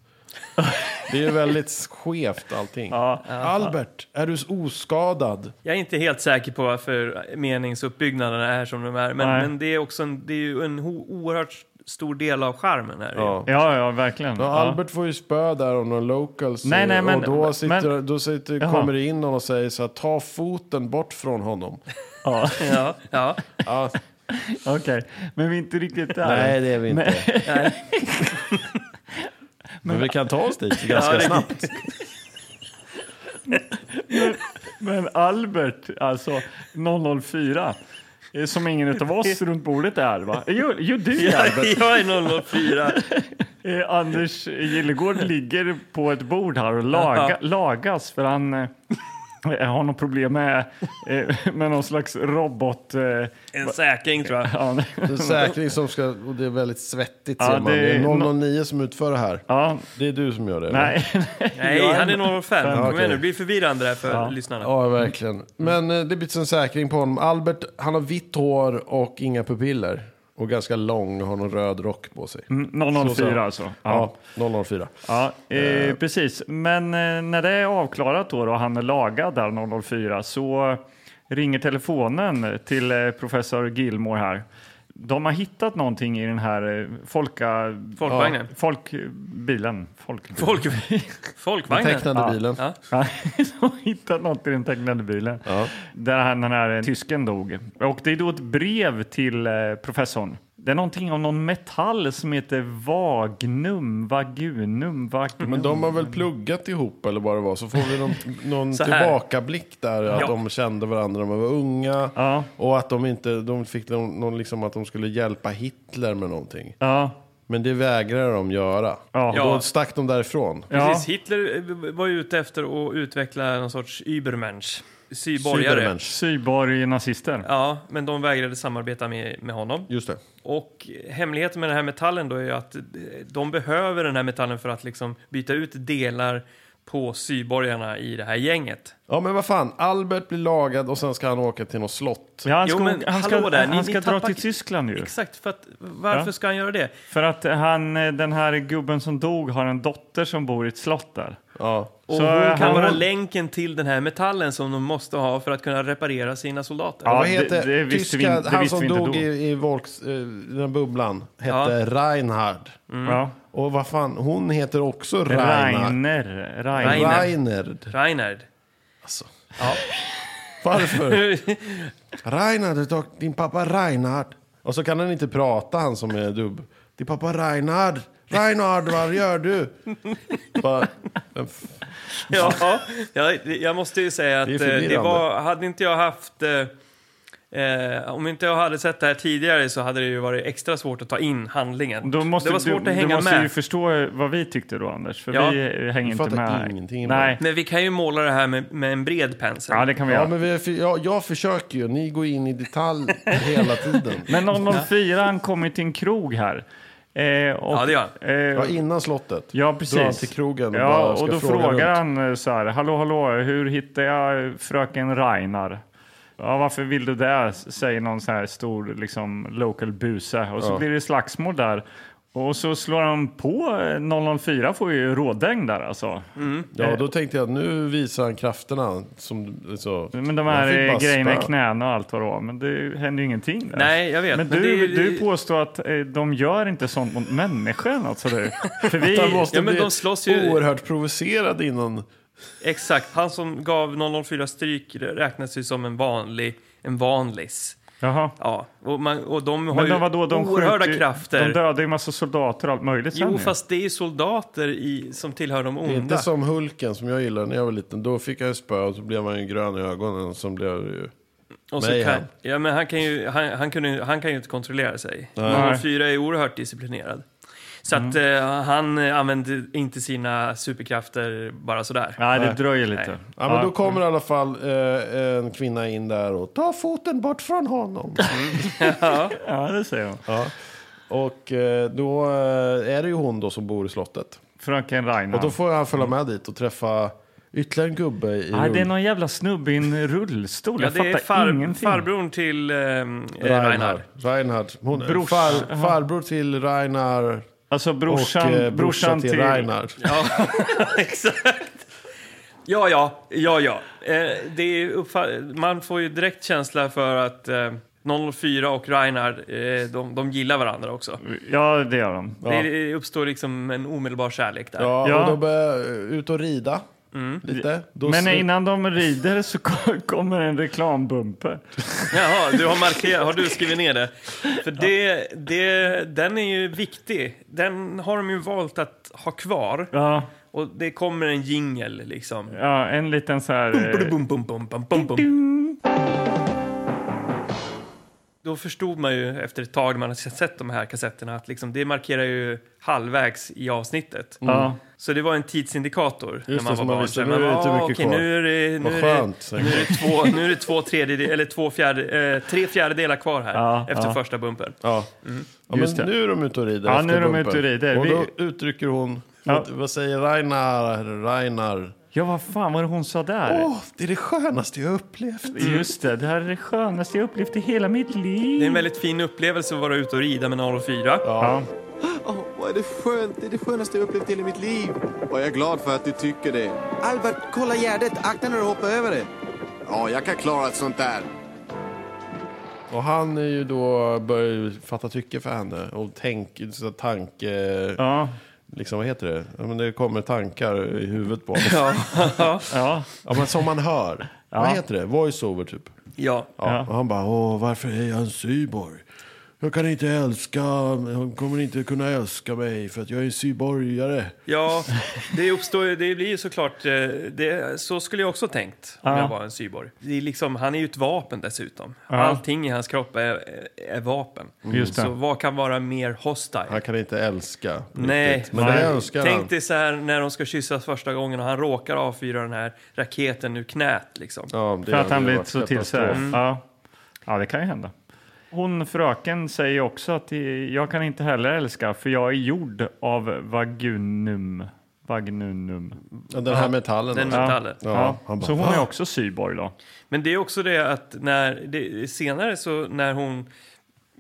det är ju väldigt skevt allting. Albert, är du oskadad?
Jag är inte helt säker på varför meningsuppbyggnaderna är som de är. Men,
Nej.
men det är också en, det är ju en ho- oerhört stor del av charmen här.
Ja.
Ja, ja, verkligen.
Ja,
Ja.
Albert får ju spö där av någon locals.
Nej, nej, men-
och då, sitter,
men-
då sitter,
Jaha.
kommer det in någon och säger så här, ta foten bort från honom.
Ja, ja.
Ja,
Okej, men vi är inte riktigt där.
nej, det är vi inte.
Men-
Men vi kan ta oss dit ganska snabbt.
Men Albert, alltså 004, eh, som ingen utav oss runt bordet är va? Jo, jo du är Albert.
Jag är 004.
Eh, Anders Gillegård ligger på ett bord här och laga, lagas för han eh, har något problem med, eh, med någon slags robot... Eh,
En säkring tror jag.
ja,
Det är säkring som ska, och det är väldigt svettigt
Ja,
ser man. Det
det är
är 009 som utför det här.
ja,
Det är du som gör det? eller?
nej.
Nej, han är 05. Kom
okej.
igen nu, det blir förvirrande där för
Ja.
lyssnarna.
Ja, verkligen. Men eh, det byts en säkring på honom. Albert, han har vitt hår och inga pupiller. Och ganska lång och har någon röd rock på sig.
004 alltså. Mm, Ja.
Ja, 004.
Ja, eh, precis. Men eh, när det är avklarat då, då och han är lagad där 004 så ringer telefonen till eh, professor Gilmore här. De har hittat någonting i den här eh, folka...
Folkvagnen.
Ja, folkbilen. Folkbilen.
Folk, folkvagnen.
Tecknade bilen.
Ja.
Ja, de har hittat något i den tecknade bilen. Där han, den här eh, tysken dog. Och det är då ett brev till eh, professorn. Det är någonting om någon metall som heter vagnum, vagunum, vagnum.
Mm.
Men de har väl pluggat ihop eller vad det var. Så får vi någon, någon
Så här.
tillbakablick där. Att
Ja.
de kände varandra när de var unga.
Ja.
Och att de inte, de fick någon, någon liksom att de skulle hjälpa Hitler med någonting.
Ja,
Men det vägrade de göra.
Ja.
Och då stack de därifrån.
ja.
Precis, Hitler eh, var ju ute efter att utveckla någon sorts Übermensch. syborgare.
Cybermensch.
Syborg nazister.
Ja, men de vägrade samarbeta med, med honom.
Just det.
Och hemligheten med den här metallen då är ju att eh, de behöver den här metallen för att liksom byta ut delar på syborgarna i det här gänget.
Ja men vad fan, Albert blir lagad och sen ska han åka till något slott.
Ja, han
Jo,
ska,
men
han ska,
hallå där, ni-
han ska
ni
dra
tappar-
till Tyskland ju.
Exakt, för att, varför
Ja.
ska han göra det?
För att han, eh, den här gubben som dog har en dotter som bor i ett slott där.
Ja.
Och
Så
hon kan
han-
vara länken till den här metallen som de måste ha för att kunna reparera sina soldater.
Ja,
Vad
det-
heter
det visste vi
tyska,
in- det
han
visste
som
vi inte
dog
då.
i, i Volks, eh, den bubblan, hette Reinhard.
Mm.
Ja.
Och vad fan, hon heter också Reinhard.
Mm. Reiner. Reiner.
Rein- Reiner.
Reinhard.
Reinhard.
Alltså.
Ja.
Varför? Reinhard, du tar din pappa Reinhard. Och så kan han inte prata, han som är dubb. Din pappa Reinhard. Reinhard, vad gör du? Bara, vem f-
Ja, jag, jag måste ju säga att
Det är
eh, det
förvirrande.
var, hade inte jag haft... eh, Eh, om inte jag hade sett det här tidigare så hade det ju varit extra svårt att ta in handlingen.
Då måste,
det var svårt
du,
att hänga
du måste
med.
ju förstå vad vi tyckte då, Anders. För
Ja.
vi eh, hänger inte
fattar
med. här.
ingenting bara.
Nej,
Men vi kan ju måla det här med, med en bred pensel.
ja, det kan vi
Ja,
göra.
men vi, är för- ja, jag försöker ju. Ni går in i detalj hela tiden.
Men 004 han kommer till en krog här. Eh, och,
Ja, det gör
Ja,
eh,
innan slottet.
Ja,
Drar han
precis.
till krogen och
ja,
bara
och
ska
då
fråga
frågar
runt.
han eh, så här, hallå, hallå, hur hittar jag fröken Reinar? Ja, varför vill du det? Säger någon så här stor liksom, local buse. Och så blir det slagsmål där. Och så slår han på eh, 004, får ju rådäng där alltså.
Ja, då tänkte jag att nu visar han krafterna. Som, så,
Men de
Man
här
fick
eh,
bara
grejerna i
spö.
knäna och allt vad det var. Men det händer ju ingenting där.
Nej, jag vet,
Men,
men
du,
det är ju-
du påstår att eh, de gör inte sånt mot människan alltså du. För vi...
Han måste
Ja, men
bli
de slåss ju-
oerhört provocerad innan.
Exakt, han som gav 004 stryk räknas ju som en vanlig, en vanlis.
Jaha.
Ja, och, man, och de har
Men
ju
de, vadå, de
oerhörda
skjuter ju-
krafter.
De dödar ju massa soldater och allt möjligt sen
jo,
ju.
fast det är ju soldater i, som tillhör de
Det är
onda.
Inte som Hulken som jag gillade när jag var liten. Då fick jag ju spö och så blev man ju grön i ögonen. Och sen blev jag ju...
Och så
Nej,
kan,
han.
ja, men han, kan ju, han, han, kunde, ju- han kan ju inte kontrollera sig.
Nej. Mm.
004 är oerhört disciplinerad. Så att eh, han eh, använder inte sina superkrafter bara sådär.
Nej, det dröjer lite.
Nej.
Ja, men då kommer i alla fall eh, en kvinna in där och tar foten bort från honom.
Ja, det säger hon.
ja. Och eh, då eh, är det ju hon då som bor i slottet.
Fröken
Och då
Reinhardt.
får han följa med dit och träffa ytterligare en gubbe i
Nej, det är
rull-
någon jävla snubbe i en rullstol.
Ja,
Jag
det är
fattar
far,
ingenting.
farbrorn till eh, Reinhard.
Reinhard. Reinhard. Hon,
Brors-
far, farbror till Reinhard
Alltså brorsan,
och eh,
brorsan, till...
Reinhard.
Exakt. Ja, ja, ja, ja. Eh, det är ju uppfa- man får ju direkt känsla för att eh, 004 och Reinhard, eh, de, de gillar varandra också.
Mm, Ja, det gör de.
Det, det uppstår liksom en omedelbar kärlek där.
Ja,
Ja. Mm.
och de börjar eh, ut och rida lite. Då
Men
slu-
innan de rider så ko- kommer en reklambumper.
Jaha, du har markerat, har du skrivit ner det? För det, det, den är ju viktig. Den har de ju valt att ha kvar.
Ja,
Och det kommer en jingel liksom.
ja, en liten så här... eh,
Bum, bum, bum, bum, bum, bum. Då förstod man ju efter ett tag när man har sett de här kassetterna att liksom, det markerar ju halvvägs i avsnittet.
Ja.
Så det var en tidsindikator
Mm. det,
när man
som
var
man
barn.
visste,
Så här,
nu är det
man
inte
bara, "Ah, okej,
mycket kvar."
nu är det, nu
Vad
är
skönt,
det,
säger
nu är det, två, nu är det två tredjedel, eller två fjärde, eh, tre fjärdedelar kvar här
Ja,
efter
ja.
första bumpen.
Ja. Ja,
Just det.
men nu är de ute och rider.
Ja,
efter
nu är de
bumpen.
ute och rider.
Och
Vi-
då uttrycker hon,
Ja.
vad, vad säger Reinhard? Reinhard.
ja, vad fan var det hon sa där?
Åh, det är det skönaste jag upplevt.
Just det, det här är det skönaste jag upplevt i hela mitt liv.
Det är en väldigt fin upplevelse att vara ute och rida med 004.
Ja.
Åh, vad är det skönt. Det är det skönaste jag upplevt i hela mitt liv. Och jag är glad för att du tycker det.
Albert, kolla gärdet! Akta när du hoppar över det!
Ja, jag kan klara ett sånt där.
Och han är ju då, börjar ju fatta tycke för henne. Och tänk, så att tanke...
Ja.
Liksom, vad heter det? Ja, men det kommer tankar i huvudet på honom.
Ja.
Ja, men som man hör. Vad heter det? Voiceover typ.
Ja.
Ja. Och han bara, åh, varför är jag en cyborg? Jag kan inte älska, hon kommer inte kunna älska mig för att jag är en syborgare.
Ja, det, uppstår, ju- det blir ju såklart... eh, Det, så skulle jag också tänkt om
Ja.
jag var en cyborg. Det är liksom, han är ju ett vapen dessutom.
Ja. Mm.
Allting i hans kropp är, är vapen.
Just det.
Så vad kan vara mer hostile?
Han kan inte älska. på
Nej.
riktigt. Men
Nej.
det önskar han.
Tänk dig så här när de ska kyssas första gången och han råkar avfyra den här raketen ur knät. Liksom.
Ja, det
För att
hade
han
ju
blir
varit
inte så till sig.
katastrof.
Ja. ja, det kan ju hända. Hon fröken säger också att det- jag kan inte heller älska för jag är gjord av vagunum. Vagnunum.
Ja, Den här metallen.
Den
alltså.
metallen.
Ja.
Ja, han bara,
så hon
"Va?"
är också cyborg då.
Men det är också det att när, det, senare så när hon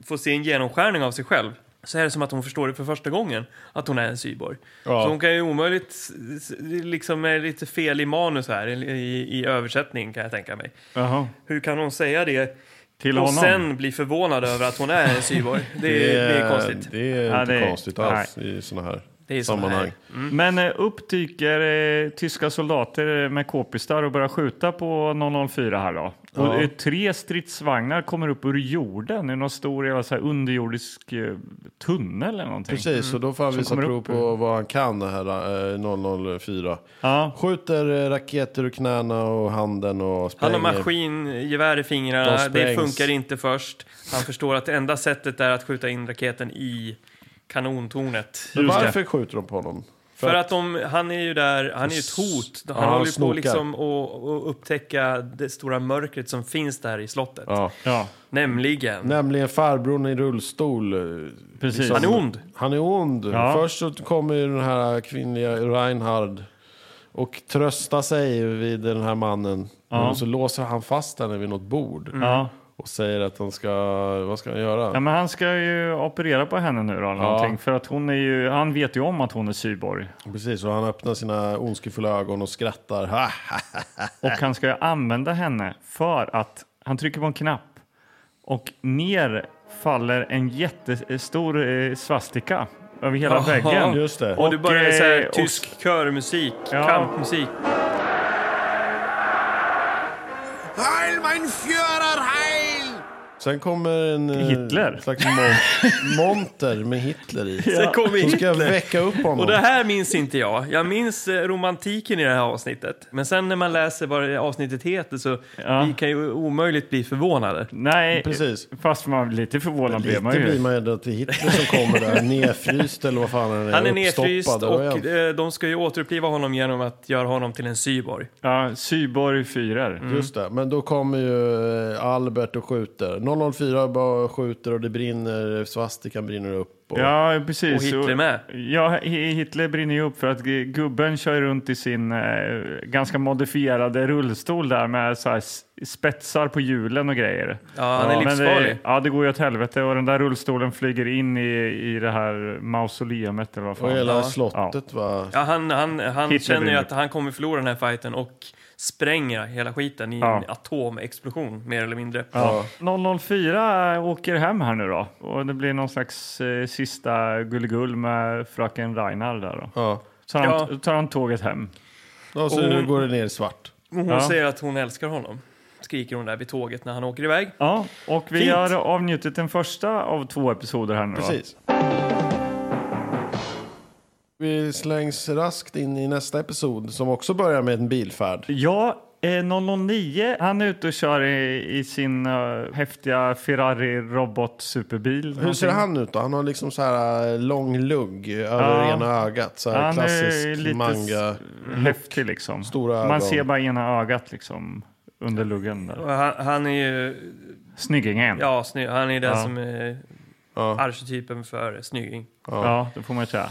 får se en genomskärning av sig själv så är det som att hon förstår det för första gången, att hon är en cyborg. Så hon kan ju omöjligt, s- s- liksom är lite fel i manus här, i, i, i översättning kan jag tänka mig.
Jaha.
Hur kan hon säga det
Till
och
honom.
sen bli förvånad över att hon är en cyborg? Det, är- det är konstigt.
Det är
Ja,
inte
det är-
konstigt alls i sådana här
Det är såna
sammanhang.
här.
Men eh, upp dyker eh, tyska soldater eh, med k-pistar och börjar skjuta på 004 här då. Och eh, tre stridsvagnar kommer upp ur jorden i någon stor jävla så här, underjordisk eh, tunnel eller någonting.
Precis, så då får han visa
kommer
prov
upp
på vad han kan, det här eh, 004.
Ja.
Skjuter eh, raketer ur knäna och handen och
Han
spränger.
har maskingevär i
De
fingrarna, det
sprängs.
funkar inte först. Han förstår att det enda sättet är att skjuta in raketen i kanontornet.
Men
Just det.
Varför skjuter de på honom?
För att de, han är ju där, han är ju ett hot. Han
han
håller ju på
snokar.
liksom att att upptäcka det stora mörkret som finns där i slottet.
Ja.
Ja,
Nämligen,
Nämligen farbrorn i rullstol. eh,
precis.
liksom-
han är ond.
Han är ond.
Ja.
Först så kommer ju den här kvinnliga Reinhard och tröstar sig vid den här mannen. Och så låser han fast henne vid något bord.
Mm.
Ja.
Och säger att han ska, vad ska han göra?
Ja, men han ska ju operera på henne nu då, eller någonting. För att hon är ju, han vet ju om att hon är cyborg.
Precis, och han öppnar sina ondskefulla ögon och skrattar. Ha, ha.
Och han ska ju använda henne för att han trycker på en knapp och ner faller en jättestor eh, svastika över hela
Jaha.
väggen.
Just det.
Och, du börjar så här,
eh, och-
tysk körmusik,
Ja.
kampmusik.
Heil mein Führer, heil!
Sen kommer en eh,
Hitler.
slags mon- monter med Hitler i.
Sen kommer
Som ska
Hitler.
väcka upp honom.
Och det här minns inte jag. Jag minns eh, romantiken i det här avsnittet. Men sen när man läser vad det avsnittet heter så
Ja.
vi kan ju omöjligt bli förvånade.
Nej,
Precis.
fast man blir lite förvånad blir
Lite
man ju.
blir man ju rädd att det är Hitler som kommer där, nedfryst eller vad fan han är.
Han är
uppstoppad,
nedfryst
eller vad är han?
och eh, de ska ju återuppliva honom genom att göra honom till en cyborg.
Ja, cyborg fyrar.
Mm.
Just det, men då kommer ju eh, Albert och skjuter. 004 bara skjuter och det brinner, svastikan brinner upp. Och...
Ja, precis.
Och Hitler med.
Ja, Hi- Hitler brinner ju upp för att gu- gubben kör runt i sin eh, ganska modifierade rullstol där med så här s- spetsar på hjulen och grejer.
Ja, han är
men
livsfarlig.
Det, ja, det går ju åt helvete och den där rullstolen flyger in i, i det här mausoleumet eller vad
Och
fan.
hela
Ja.
slottet va?
Ja, han han, han
Hitler
känner ju
vinner.
att han kommer förlora den här fighten och spränger hela skiten i
Ja.
en atomexplosion, mer eller mindre.
Ja. 004 eh, åker hem här nu då och det blir någon slags eh, sista gulligull med fröken Reinhard där då.
Ja.
Så tar han,
Ja.
tar han tåget hem.
Och så
Och-
nu går det ner i svart.
Och Hon
Ja.
säger att hon älskar honom, skriker hon där vid tåget när han åker iväg.
Ja, och vi
Fint.
har avnjutit den första av två episoder här nu va?
Precis. Vi slängs raskt in i nästa episod som också börjar med en bilfärd.
Ja, eh, 009, han är ute och kör i, i sin eh, häftiga Ferrari robot superbil.
Hur ser han ut då? Han har liksom så här eh, lång lugg över
Ja.
ena ögat. Så här
Han
klassisk
är lite
manga.
manga. häftig liksom.
Stora ögon.
Man ser bara ena ögat liksom under luggen där.
Och Han, han är ju,
Snyggingen.
ja, sny, han är den
Ja.
som är
Ja.
arketypen för snygging.
Ja, det får man ju säga.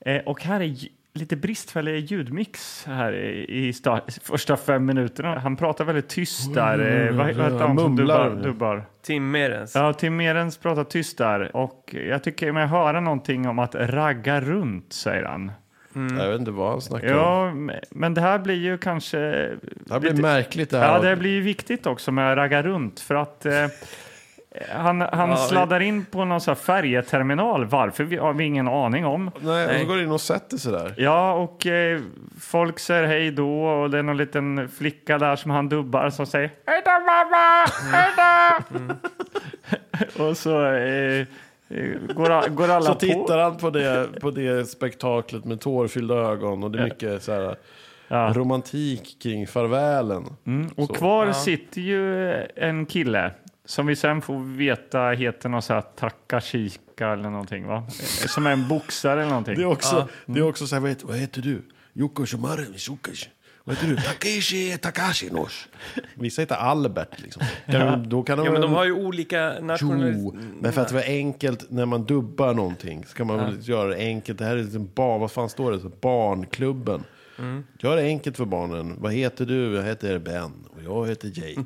Eh, och här är lj- lite bristfällig ljudmix här i, i start, första fem minuterna. Han pratar väldigt tyst där. Eh, vad vad heter han som
Mumlar.
dubbar? dubbar?
Tim Merens.
Ja, Tim Merens pratar tyst där och jag tycker mig höra någonting om att ragga runt, säger han.
Jag vet inte vad han snackar om.
mm. Ja, m- men det här blir ju kanske...
Det här blir märkligt det här.
Ja, det blir ju viktigt också med ragga runt för att eh, han, han
Ja, vi-
sladdar in på någon så här färjeterminal. Varför vi, har vi ingen aning om.
Nej, och
Nej.
så går det in och sätter sig där.
Ja, och eh, folk säger hej då och det är någon liten flicka där som han dubbar som säger hej då mamma, hej då! Och så eh, eh, går, a- går alla
Så
på.
tittar han på det, på det spektaklet med tårfyllda ögon och det är mycket så här,
Ja. Mm.
romantik kring farvälen.
Och kvar sitter ju eh, en kille som vi sen får veta heter något så här Takashika eller någonting va? Eh, Som är en boxare eller någonting.
Det är också, det är också så här, vad heter, vad heter du? Yoko Shumari Misukashi. Vad heter du? Takeshi Takashi Nosh. Vissa heter Albert liksom. Kan, Då kan de,
Ja, men de
väl-
har ju olika
Jo,
nationaliteter.
men för att det var enkelt när man dubbar någonting så kan man väl göra det enkelt. Det här är liksom barn, vad fan står det? Så barnklubben.
Mm.
Gör det enkelt för barnen. Vad heter du? Jag heter Ben och jag heter Jake.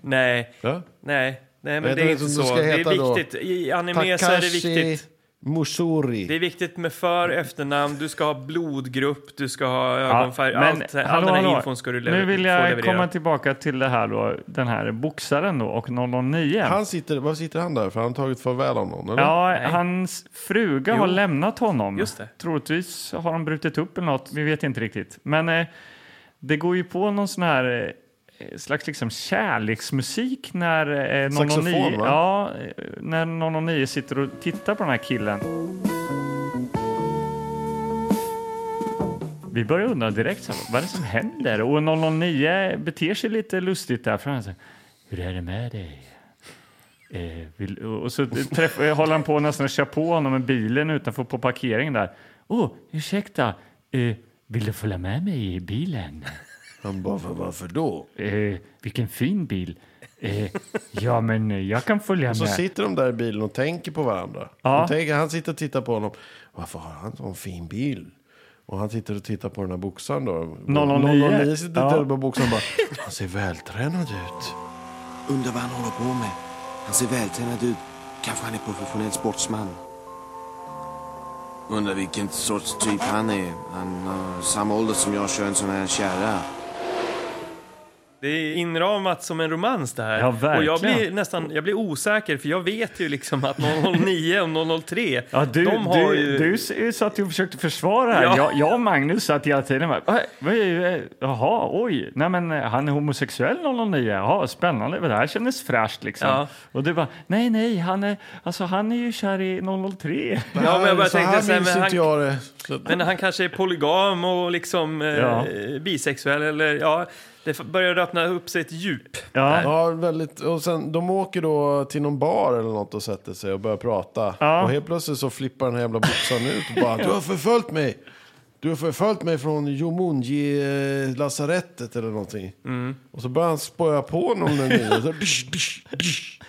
Nej,
Ja?
nej, nej, men
Vad
det
heter
är
det
inte
som du
så.
ska
Det
heta
är
då?
viktigt. I anime så är det viktigt.
Musuri.
Det är viktigt med för efternamn, du ska ha blodgrupp, du ska ha
Ja,
ögonfärg. allt, all
hallå,
den här
hallå.
infon ska du lever,
Nu vill
få
jag
leverera.
komma tillbaka till det här då, den här boxaren då och 009.
Han sitter, var sitter han där? För han har tagit farväl av någon, eller?
Ja, hans fruga har
Jo.
lämnat honom.
Just det.
Troligtvis har de brutit upp eller något, vi vet inte riktigt. Men eh, det går ju på någon sån här eh, slags liksom kärleksmusik när eh,
Saxofon,
009,
va?
ja, eh, när 009 sitter och tittar på den här killen. Vi börjar undra direkt, så här, vad är det som händer? Och 009 beter sig lite lustigt där, för han säger, hur är det med dig? Eh, vill, och så träff, eh, håller han på nästan att köra på honom med bilen utanför på parkeringen där. Åh, oh, ursäkta, eh, vill du följa med mig i bilen?
Han bara, "Var- varför då?
Eh, vilken fin bil. Eh, ja, men eh, jag kan följa
Så
med.
sitter de där i bilen och tänker på varandra.
Ja.
De tänker, han sitter och tittar på honom. Varför har han en sån fin bil? Och han sitter och tittar på den här boxaren då.
009.
009 sitter och
Ja.
tittar på boxaren och bara, han ser vältränad ut.
Undrar vad han håller på med. Han ser vältränad ut. Kanske han är professionell sportsman. Undrar vilken sorts typ han är. Han har samma ålder som jag kör en sån här kärra.
Det är inramat som en romans det här.
Ja,
och jag
verkligen.
blir nästan jag blir osäker för jag vet ju liksom att 009 och 003,
Ja, du,
de har
du,
ju...
du s- ju satt ju och försökte försvara här.
Ja.
Jag, jag och Magnus satt hela tiden bara, "Va- vad är- eh, jaha, oj, nej men eh, han är homosexuell 009, jaha, spännande, det här kändes fräscht liksom.
Ja.
Och du bara, nej nej, han är, alltså, han är ju kär i 003.
Ja, men jag bara
så
tänkte
här
så här,
minns
men
inte
han,
jag det. Så,
men han kanske är polygam och liksom eh,
Ja.
bisexuell eller ja, det f- börjar öppna upp sig ett djup.
Ja.
ja, väldigt. Och sen, de åker då till någon bar eller något och sätter sig och börjar prata.
Ja.
Och helt plötsligt så flippar den här jävla boxaren ut och bara, du har förföljt mig. Du har förföljt mig från Jomunji-lasarettet eller någonting.
Mm.
Och så börjar han spöa på någon där nere. Så, dish, dish, dish.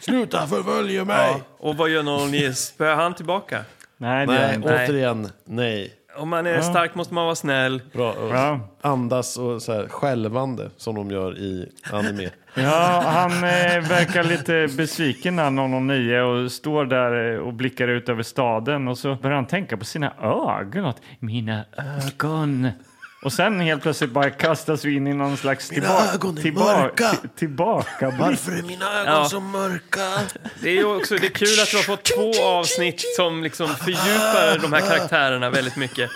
Sluta förfölja mig!
Ja. Och vad gör 009? Spöar han tillbaka?
Nej, det är
Nej,
inte.
Nej.
återigen, nej.
Om man är stark måste man vara snäll.
Bra. Och
Ja.
Andas och så här skälvande som de gör i anime.
Ja, han eh, verkar lite besviken när 009 och står där eh, och blickar ut över staden och så börjar han tänka på sina ögon. Att, Mina ögon. Och sen helt plötsligt bara kastas vi in i någon slags tillbaka,
ögon är
tillbaka,
mörka.
tillbaka
Varför är mina ögon
Ja.
så mörka?
Det är ju också det är kul att vi har fått två avsnitt som liksom fördjupar de här karaktärerna väldigt mycket.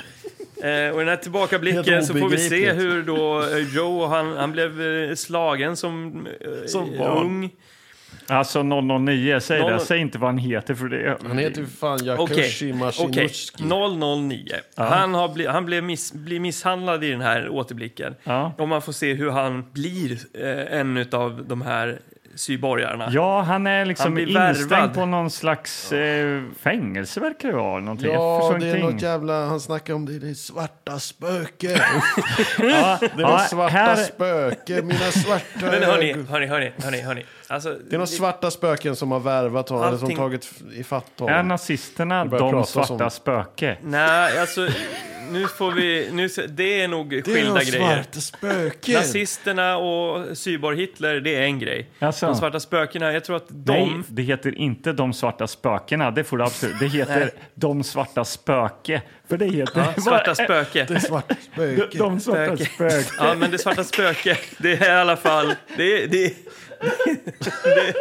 Eh, och i den här tillbakablicken
Helt
så får vi se
obegripligt.
hur då eh, Joe, han, han blev eh, slagen som, eh,
Som barn.
ung.
Alltså 009, säg det.
Noll-
Säg inte vad han heter för det.
Han heter ju för fan
Okej,
Yakushi
okej.
Mashinushki.
009. Han, har bli, han blev miss, blir misshandlad i den här återblicken.
Ja.
Och man får se hur han blir eh, en av de här cyborgarna.
Ja, han är
Han
liksom
blir
instängd
värvad.
på någon slags eh, fängelse verkar det vara. Någonting. Jag
Ja,
förstår
det är
ingenting.
något jävla... Han snackar om det, det är svarta spöke.
Ja,
Det är
ja,
något svarta
här-
spöke, mina svarta
Men hörni,
ögon.
hörni, hörni, hörni, hörni. Alltså,
Det är några svarta spöken som har värvat honom, eller som
Allting-
tagit ifatt
Är
honom.
nazisterna
börjar
de
prata
svarta
som-
spöke?
Nej, alltså nu får vi... Nu, det är nog
Det är
skilda
några
grejer.
svarta spöken.
Nazisterna och cyborg-Hitler, det är en grej.
Alltså.
De svarta spökena, jag tror att de...
Nej, det heter inte De svarta spökena. Det får du absolut. Det heter De svarta spöke. För det heter...
Ja, svarta spöke.
Svarta spöke.
De svarta
Spöke.
spöke.
Ja, men det svarta spöke, det är i alla fall... Det är... Det, det,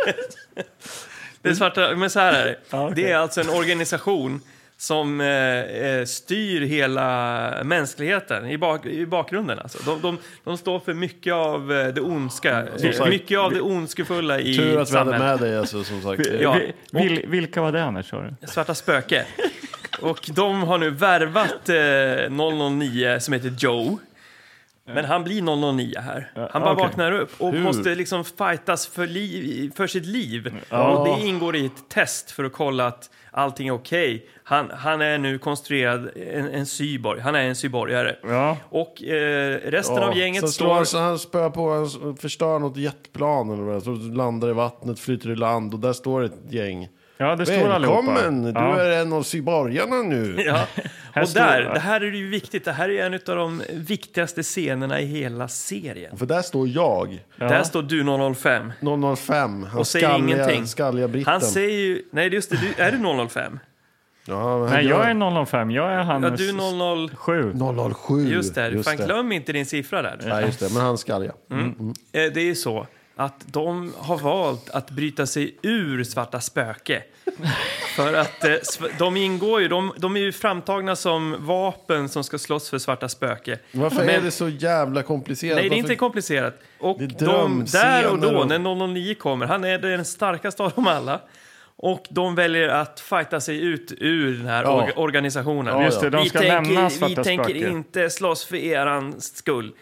det, svarta... Men så här är det.
Ja, okej.
Det är alltså en organisation som eh, eh, styr hela mänskligheten i, bak, i bakgrunden. Alltså. De, de, de står för mycket av eh, det ondska, eh,
sagt,
mycket av det ondskefulla i
Tur att vi hade
samhället.
med dig alltså, som sagt.
Ja.
Vi, vil, vilka var det Anders? sa du?
Svarta Spöke. Och de har nu värvat eh, 009 som heter Joe. Men han blir 009 här. Han bara
okej.
vaknar upp och
Hur?
måste liksom fightas för, liv, för sitt liv. Och det ingår i ett test för att kolla att allting är okej. Han, han är nu konstruerad en, en cyborg. Han är en cyborgare.
Ja.
Och eh, resten av
så
gänget
slår
står...
han, så han spöar på, han s- förstör något jetplan eller vad det är, så landar i vattnet, flyter i land och där står ett gäng.
Ja, det står allihopa.
Välkommen, du
ja.
är en av sybargarna nu.
Ja.
Här
Och
står-
där, det här är ju viktigt. Det här är en av de viktigaste scenerna i hela serien.
För där står jag,
Där står du 005.
005, han
och säger
skalliga,
ingenting.
skalliga britten.
Han säger ju... Nej, just det. Du, är du 005?
Ja, men han
Nej,
gör-
jag är 005. Jag är han
Ja, du 007.
7.
007.
Just det. Fan,
det.
glöm inte din siffra där.
Nej, just det. Men han Mm. skall ja.
Eh, Det är ju så att de har valt att bryta sig ur Svarta Spöke. För att eh, sv- de ingår ju, de, de är ju framtagna som vapen som ska slåss för Svarta Spöke.
Varför är
Men-
det så jävla komplicerat?
Nej, det är inte
Varför-
komplicerat. Och
Det är
de, där och
drömscener
då,
och-
när 009 kommer, han är den starkaste av dem alla. Och de väljer att fighta sig ut ur den här orga- organisationen.
Ja, Just
det, de
vi
ska
tänker,
lämna
Vi
Svarta
tänker
Spöke."
inte slåss för eran skull,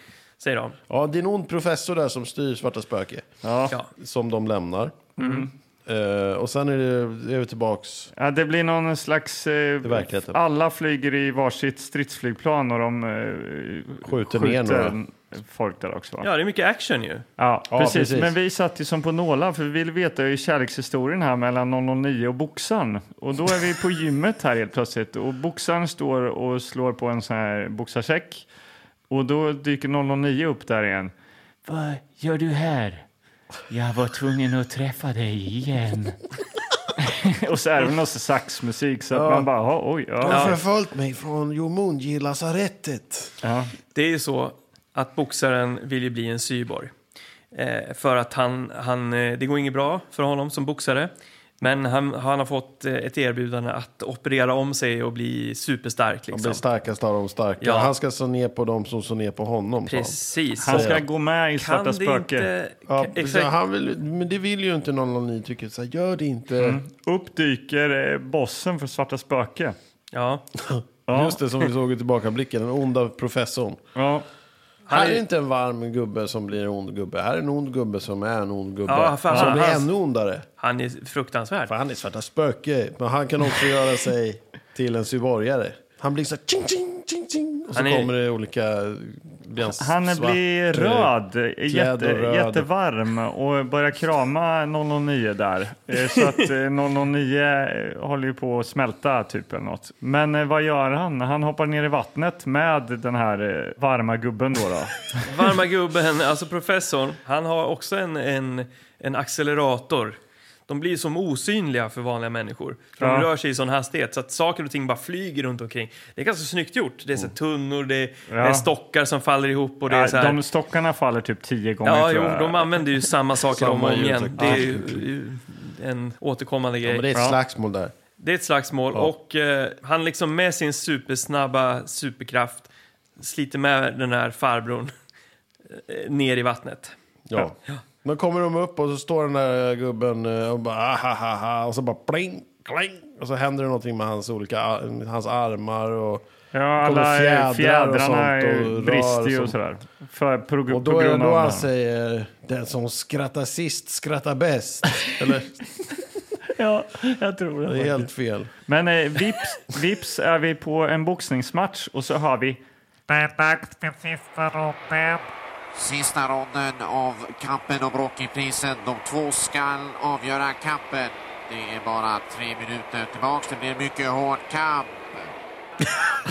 säger de.
Ja, det är en ond professor där som styr Svarta Spöke.
Ja. Mm.
Som de lämnar.
Mm.
Eh, och sen är, det, är vi tillbaks.
Ja, det blir någon slags... Eh,
är verkligheten.
alla flyger i varsitt stridsflygplan och de eh,
Skjuter ner några.
folk där också. Va? Ja,
ja, det är mycket action ju.
Ja,
precis.
precis.
Men vi satt ju som på nålar för vi vill veta ju kärlekshistorien här mellan 009 och boxaren. Och då är vi på gymmet här helt plötsligt och boxaren står och slår på en sån här boxarsäck. Och då dyker 009 upp där igen. Vad gör du här? Jag var tvungen att träffa dig igen. och så är det någon saxmusik så att man bara, "Jaha, oj, ja.
har förföljt mig från Jomunji-lasarettet.
Det är ju så att boxaren vill ju bli en cyborg. Eh, för att han, han, eh, det går inget bra för honom som boxare. Men han, han har fått eh, ett erbjudande att operera om sig och bli superstark.
Han blir
Liksom.
starkast av de starka.
Ja.
Han ska slå ner på dem som slår ner på honom. sa han.
Precis.
Han
Så
ska gå med i
kan
Svarta
det
Spöke.
inte...
Ja,
kan-
så
exakt.
han vill, men det vill ju inte någon av ni tycker. Så här, gör det inte.
Mm.
Uppdyker eh, bossen för Svarta Spöke.
Ja.
Just det som vi såg i tillbakablicken, den onda professorn.
Ja.
här
är-
är inte en varm gubbe som blir en ond gubbe. Här är en ond gubbe som är en ond gubbe.
Ja, för
som
han-
blir
han-
ännu ondare.
Han är fruktansvärd.
För han är svarta spöke. Men han kan också göra sig till en cyborgare. Han blir så här, ching, ching, ching, ching. Och så
Han är-
kommer det olika... blir han
Han
svart,
blir
eh,
röd, jätte,
och röd.
jättevarm och börjar krama 009 där. Eh, Så att eh, 009 håller ju på att smälta typ eller något. Men eh, vad gör han? Han hoppar ner i vattnet med den här eh, varma gubben då. då.
Varma gubben, alltså professorn, han har också en, en, en accelerator. De blir ju som osynliga för vanliga människor. För
Ja.
De rör sig i sån hastighet så att saker och ting bara flyger runt omkring. Det är ganska snyggt gjort. Det är så
Mm.
här tunnor, det är, det är stockar som faller ihop och det är så
Ja,
här...
de stockarna faller typ tio gånger
Ja,
tror
jo,
jag.
de använder ju samma saker om och
Samma
om
ljud,
igen.
säkert.
Det är ju ju en återkommande
Ja,
grej.
men det är ett slagsmål där.
Det är ett slagsmål och eh, han liksom med sin supersnabba superkraft sliter med den här farbrorn eh, ner i vattnet.
Ja. Men kommer de upp och så står den där gubben eh, och bara ahahaha och så bara pling, kling. Och så händer det någonting med hans olika ar- hans armar och...
Ja,
kommer
alla
fjädrar
eh,
och
fjädrarna
sånt och
eh,
rör
brister ju
och
och sådär. För, på,
Och
på
då är det
grund
då
av
han
den.
säger den som skrattar sist skrattar bäst. Eller,
Ja, jag tror det.
det är helt fel.
Men eh, vips, vips är vi på en boxningsmatch och så har vi
Det är dags för sista ronden.
Sista ronden av kampen om Rocky-prisen. De två skall avgöra kampen. Det är bara tre minuter tillbaks. Det blir en mycket hård kamp.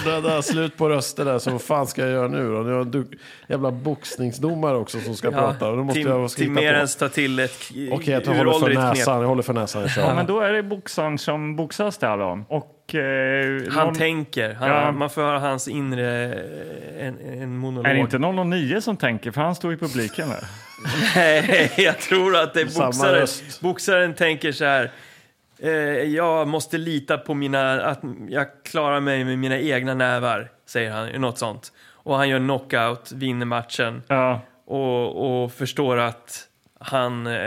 Det där, slut på röster där, så vad fan ska jag göra nu då? Nu har jag en du- jävla boxningsdomare också som ska prata. Och då måste
Tim,
jag skriva på.
Timerens tar till ett k-
Okej, jag tar- håller för
uråldrigt knep.
näsan. Jag håller för näsan. Jag
Ja,
kör.
men då är det boxaren som boxas där då. Och, eh,
Han
någon-
tänker. Han,
Ja.
Man får höra hans inre eh, en, en monolog.
Är det inte 009 som tänker? För han står i publiken där.
Nej, jag tror att det är
Samma
boxaren.
röst.
Boxaren tänker så här. Eh, jag måste lita på mina, att jag klarar mig med mina egna nävar, säger han. Något sånt. Och han gör knockout, vinner matchen
Ja,
och, och förstår att han, eh,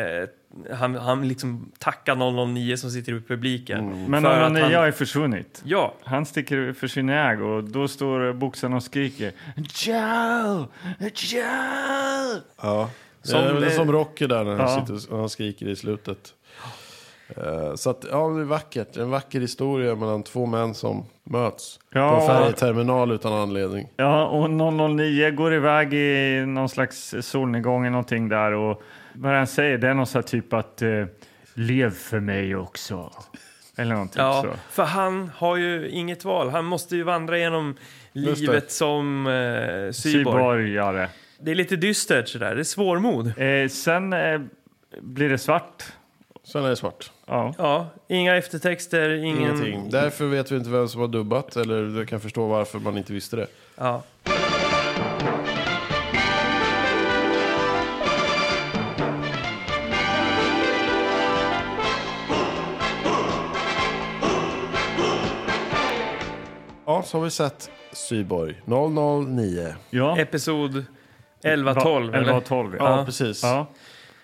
han, han liksom tackar 009 som sitter i publiken.
Mm.
men
för
när
att han,
jag är försvunnit.
Ja,
Han sticker för sin äg och då står boxaren och skriker Joe! Joe!
Ja.
Som,
Som, det är väl
eh,
som Rocky där när
ja.
han, sitter och han skriker i slutet. Eh, Så att, ja, det är vackert. En vacker historia mellan två män som möts
Ja,
på en
och-
färjeterminal utan anledning.
Ja, och 009 går iväg i någon slags solnedgång eller någonting där och vad han säger det är någon sån här typ att eh, lev för mig också. Eller någonting
ja,
så.
för han har ju inget val. Han måste ju vandra genom
Just det.
livet som eh, cyborg.
Syborgare.
Det är lite dystert sådär, det är svårmod.
Eh, sen eh, blir det svart.
Sen är det svart.
Ja.
Ja, inga eftertexter, ingen...
Ingenting. Därför vet vi inte vem som har dubbat. Eller du kan förstå varför man inte visste det.
Ja.
Ja, så har vi sett Syborg 009.
ja.
Episod 11-12, eller?
11 12 ja.
Ja,
Ja.
precis.
Ja.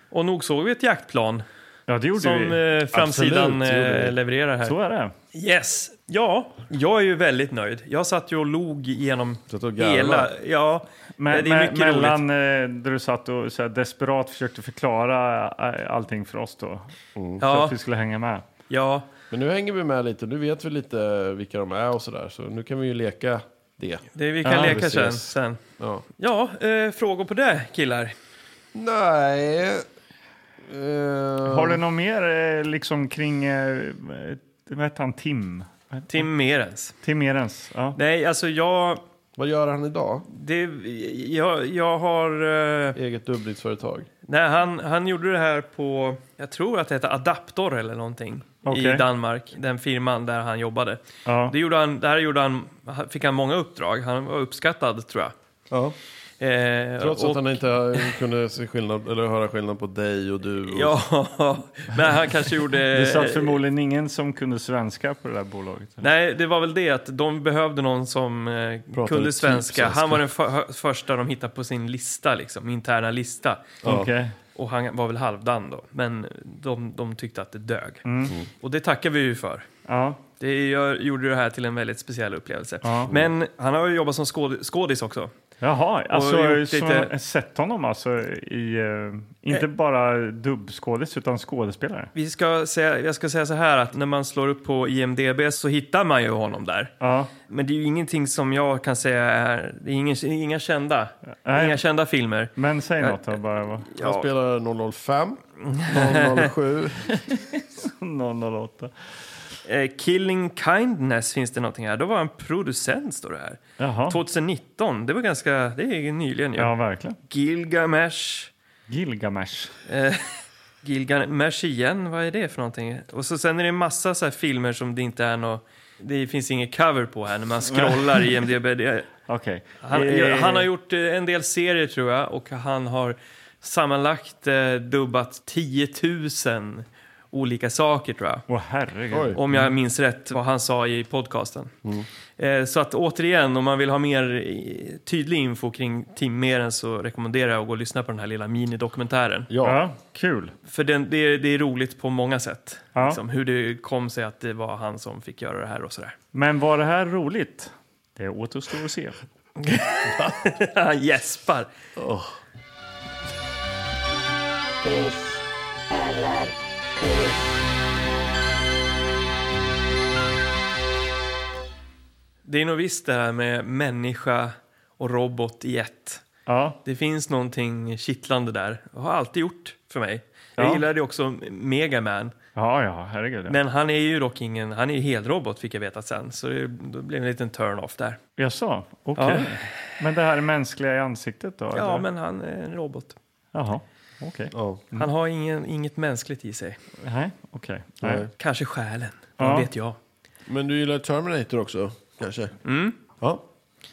Och nog såg vi ett jaktplan
ja, det gjorde
som
vi.
eh, framsidan
Absolut, det gjorde vi.
eh, levererar här.
Så är det.
Yes. Ja, jag är ju väldigt nöjd. Jag satt ju och log igenom
Satt och garvade.
hela... Ja,
Me-
det är
me-
mycket roligt.
mellan eh, där du satt och så här, desperat försökte förklara eh, allting för oss då. Så
Ja,
att vi skulle hänga med.
ja,
Men nu hänger vi med lite. Nu vet vi lite vilka de är och sådär. Så nu kan vi ju leka det.
det vi kan
Ja,
leka
precis.
sen. sen.
Ja.
Ja, eh, frågor på det, killar?
Nej.
Har du något mer eh, liksom kring, eh, vad heter han, Tim?
Tim Merens.
Tim Erens? Ja.
Nej, alltså jag...
Vad gör han idag?
Det, jag, jag har... Eh,
Eget dubbningsföretag.
nej, han, han gjorde det här på... Jag tror att det heter Adaptor eller någonting. I
Okej.
Danmark, den firman där han jobbade.
Ja.
Det gjorde han, där gjorde han, fick han många uppdrag. Han var uppskattad, tror jag.
Ja.
Eh,
Trots
och-
att han inte kunde se skillnad, eller höra skillnad på dig och du. Och
Ja, men han kanske gjorde...
Det satt förmodligen ingen som kunde svenska på det där bolaget.
Nej, det var väl det att de behövde någon som eh,
Pratade
kunde
typ
svenska.
svenska.
Han var den för, första de hittade på sin lista, liksom, interna lista.
Ja.
Okej.
Och han var väl halvdan då, men de, de tyckte att det dög.
Mm.
Och det tackar vi ju för.
Ja.
Det gör, gjorde det här till en väldigt speciell upplevelse.
Ja.
Men han har ju jobbat som skåd, skådis också.
Jaha, alltså som,
gjort lite-
sett honom alltså i, eh, inte bara dubbskådis utan skådespelare?
Vi ska säga, jag ska säga så här att när man slår upp på IMDB så hittar man ju honom där.
Ja,
Men det är ju ingenting som jag kan säga är... Det är ingen, inga, kända,
Nej.
inga kända filmer.
men säg
Nej.
något då bara. va?
Han
Ja,
spelar 005, 007.
008.
eh, Killing Kindness finns det någonting här. Då var han producent, står det här.
Jaha,
2019, det var ganska... Det är ju nyligen ju.
ja verkligen.
Gilgamesh.
Gilgamesh.
Eh, Gilgamesh igen, vad är det för någonting? Och så sen är det en massa så här filmer som det inte är något... Det finns inget cover på här när man scrollar i IMDB. Det-
Okej.
Han,
Eh,
han har gjort eh, en del serier tror jag och han har sammanlagt eh, dubbat 10 000 olika saker tror jag.
Åh herregud.
Oj.
Om jag minns rätt vad han sa i podcasten. Eh, Så att återigen, om man vill ha mer eh, tydlig info kring Tim Meren så rekommenderar jag att gå och lyssna på den här lilla minidokumentären.
Ja.
Ja, kul.
För den, det, är, det är roligt på många sätt.
Ja.
Liksom, hur det kom sig att det var han som fick göra det här och sådär.
Men var det här roligt? Det återstår att se.
Han gäspar. Det är nog visst det här med människa och robot i ett.
Ja,
Det finns någonting kittlande där. Det har alltid gjort för mig. Jag
Ja.
gillade också Mega Man.
ja, ja herregud. Ja.
Men han är ju dock ingen, han är ju helrobot fick jag veta sen. Så det, då blev det en liten turn-off där.
Jaså, okej. Men det här är mänskliga i ansiktet då?
Ja,
eller?
men han är en robot.
Jaha, okej.
Ja.
Han har ingen, inget mänskligt i sig.
Nej, okej. Nej.
Nej.
Kanske själen,
Ja.
vad vet jag.
Men du gillar Terminator också, kanske? Ja,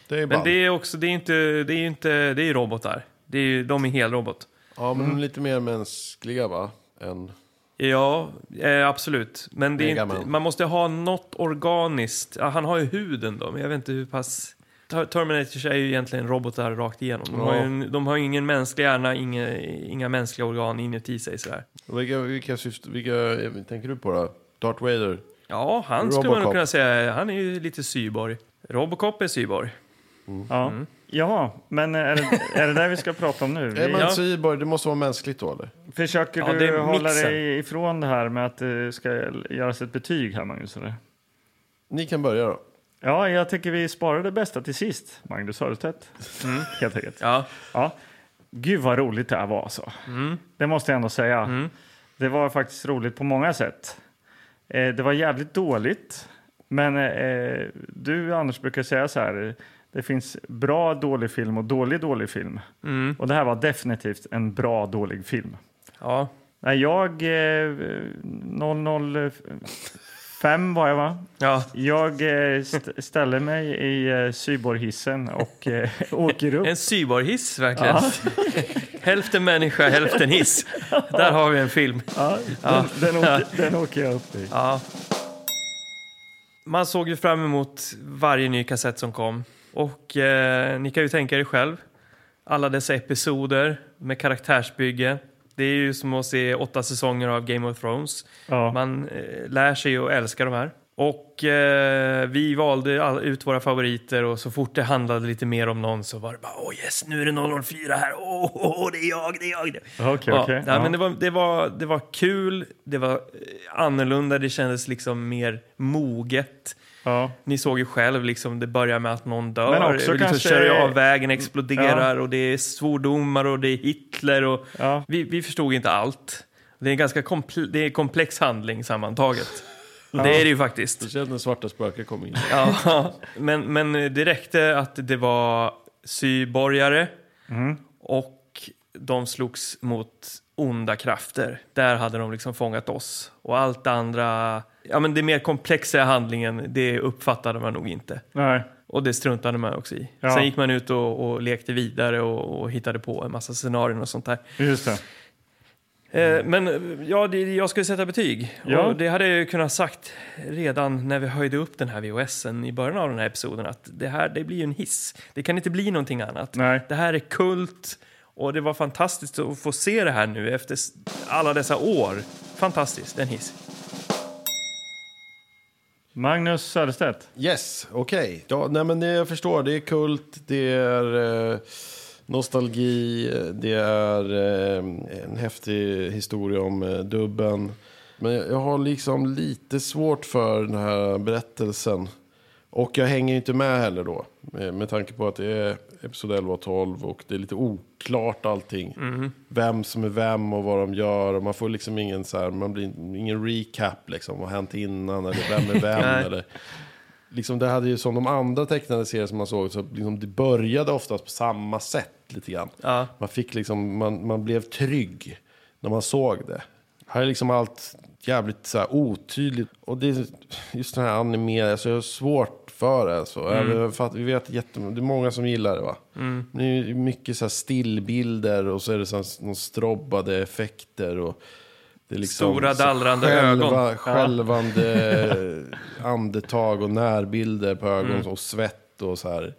det är
Mm. Men
ball.
det är också, det är inte, det är ju inte, det är ju robotar. Det är ju, de är helrobot.
Ja, men lite mer mänskliga, va? Än...
Ja, eh, absolut. Men det är
Mega
inte,
Man.
man måste ha något organiskt. Ja, han har ju huden då, men jag vet inte hur pass... Ter- Terminators är ju egentligen robotar rakt igenom. De har ju, en- de har ju ingen mänsklig hjärna, inga, inga mänskliga organ inuti sig sådär.
Och Vilka, vilka, syft, vilka eh, tänker du på då? Darth Vader?
Ja, han skulle man nog
Robocop.
kunna säga. Han är ju lite cyborg. Robocop är cyborg.
Ja, ja Mm. men är det, är det där vi ska prata om nu?
Är
Vi
man
Ja.
cyborg? Det måste vara mänskligt då eller?
försöker
Ja, det
du
är
hålla
mixen.
dig ifrån det här med att det ska göras ett betyg här, Magnus? Eller?
Ni kan börja då.
Ja, jag tycker vi sparar det bästa till sist, Magnus Hörstedt. Helt enkelt.
Ja,
Ja. Gud vad roligt det här var alltså.
Mm.
Det måste jag ändå säga. Det var faktiskt roligt på många sätt. Eh, det var jävligt dåligt. Men eh, du Anders brukar säga så här. eh, Det finns bra dålig film och dålig dålig film.
mm,
Och det här var definitivt en bra dålig film.
ja.
Nej, jag... Eh, 005 var jag va?
ja.
Jag eh, st- ställer mig i eh, cyborghissen och eh, åker upp.
En cyborghiss verkligen. hälften människa, hälften hiss. Där har vi en film.
Ja, den, den, åker, den åker jag upp i.
Ja. Man såg ju fram emot varje ny kassett som kom. Och eh, ni kan ju tänka er själv. Alla dessa episoder med karaktärsbygge. Det är ju som att se åtta säsonger av Game of Thrones.
Ja.
Man eh, lär sig att älska de här. Och eh, vi valde all, ut våra favoriter och så fort det handlade lite mer om någon så var det bara åh yes, nu är det 004 här, åh oh, det är jag, det är jag.
Okej,
ja,
okej.
nej,
Ja.
Men det, var, det, var, det var kul, det var eh, annorlunda, det kändes liksom mer moget.
Ja.
Ni såg ju själv, liksom, det börjar med att någon dör,
Men också
liksom,
kanske-
kör jag av vägen, exploderar och det är svordomar och det är Hitler och
Ja.
vi, vi förstod inte allt. Det är en ganska komple- det är en komplex handling sammantaget. Det är det ju faktiskt.
Det känns när svarta spöken kommer in.
Ja. Men, men det räckte att det var syborgare och de slogs mot onda krafter. Där hade de liksom fångat oss. Och allt det andra, ja men det mer komplexa handlingen, det uppfattade man nog inte.
Nej.
Och det struntade man också i.
Ja.
Sen gick man ut och, och lekte vidare och, och hittade på en massa scenarion och sånt där.
Just det.
Mm.
Eh, Men eh, ja, det, jag skulle sätta betyg.
Ja.
Och det hade jag ju kunnat sagt redan när vi höjde upp den här VHSen i början av den här episoden. Att det här det blir ju en hiss. Det kan inte bli någonting annat.
Nej.
Det här är kult. Och det var fantastiskt att få se det här nu efter s- alla dessa år. Fantastiskt, en hiss.
Magnus Söderstedt.
Yes, okej. Ja, nej men det jag förstår, det är kult, det är eh, nostalgi, eh, det är eh, en häftig historia om eh, dubben. Men jag, jag har liksom lite svårt för den här berättelsen. Och jag hänger ju inte med heller då. Med, med tanke på att det är episod 11 och 12 och det är lite oklart allting. Vem som är vem och vad de gör. Och man får liksom ingen, så här, man blir ingen recap liksom. Vad har hänt innan eller vem
Nej.
är vem. eller, liksom det hade ju som de andra tecknade serier som man såg. Så liksom det började oftast på samma sätt lite grann.
Ja.
Man, fick liksom, man, man blev trygg när man såg det. Här är liksom allt jävligt så här otydligt. Och det är just den här anime, alltså jag har svårt för det. Alltså.
Mm.
Jag fatt- vi vet jättemånga, det är många som gillar det va? Men det är ju mycket så här stillbilder och så är det så här någon strobbade effekter. Och det är liksom
Stora
så
dallrande
själva,
ögon.
Självande andetag och närbilder på ögon
Mm.
och svett och så här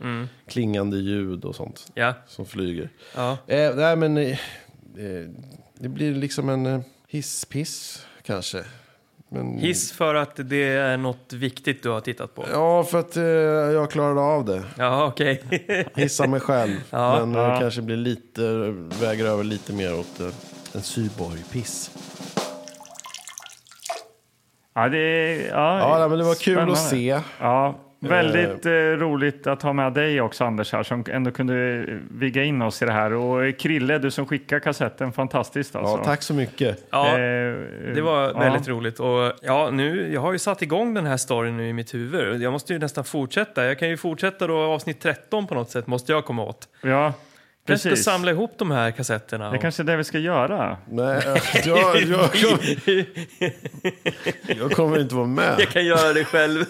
klingande ljud och sånt
Ja.
som flyger.
Ja.
Eh, nej, men eh, eh, det blir liksom en eh, hisspiss kanske. Men,
Hiss för att det är något viktigt du har tittat på.
Ja, för att eh, jag klarade av det.
Ja, okej.
Hissa mig själv.
Ja.
men eh, kanske blir lite, väger över lite mer åt eh, en cyborg-piss.
Ja, det, ja,
Ja, nej, men det var kul
spännande.
att se.
Ja, väldigt eh, roligt att ha med dig också, Anders, här, som ändå kunde eh, vigga in oss i det här. Och eh, Krille, du som skickar kassetten, fantastiskt alltså.
Ja, tack så mycket.
Ja.
Eh,
Det var
ja.
väldigt roligt. Och ja, nu, jag har ju satt igång den här storyn nu i mitt huvud. Jag måste ju nästan fortsätta. Jag kan ju fortsätta då avsnitt 13 på något sätt måste jag komma åt.
Ja,
Kanske ska
precis.
samla ihop de här kassetterna.
Det är
och-
kanske är det vi ska göra.
Nej, jag, jag, kommer, jag kommer inte vara med.
Jag kan göra det själv.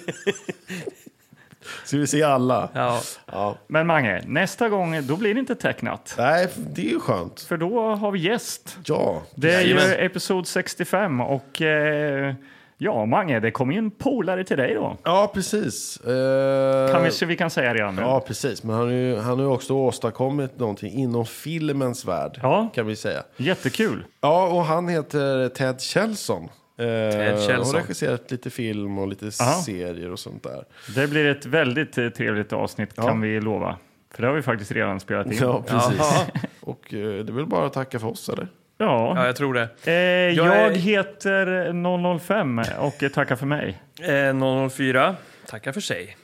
Ska vi se alla?
Ja.
Ja.
Men Mange, nästa gång då blir det inte tecknat.
Nej, det är ju skönt.
För då har vi gäst.
Ja.
Det är ju
Jajamän.
episod 65 och eh, ja, Mange, det kommer ju en polare till dig då.
Ja, precis. Eh,
Kan vi, så vi kan säga redan nu.
Ja, precis. Men han har ju, han har ju också åstadkommit någonting inom filmens värld,
Ja.
kan vi säga.
Jättekul.
Ja, och han heter Ted Kjellson. Ted
Kjellson.
Har regisserat lite film och lite
Aha.
serier och sånt där.
Det blir ett väldigt eh, trevligt avsnitt kan vi lova. För det har vi faktiskt redan spelat in.
Ja, precis.
Jaha.
Och eh, det är väl bara att tacka för oss, eller?
ja,
Ja.
jag tror det.
Eh, jag,
är-
heter 005 och eh, tackar för mig.
Eh, 004, tackar för sig.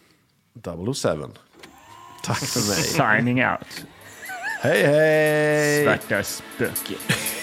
007. Tack för mig.
Signing out.
hej, hej!
Svarta spöket.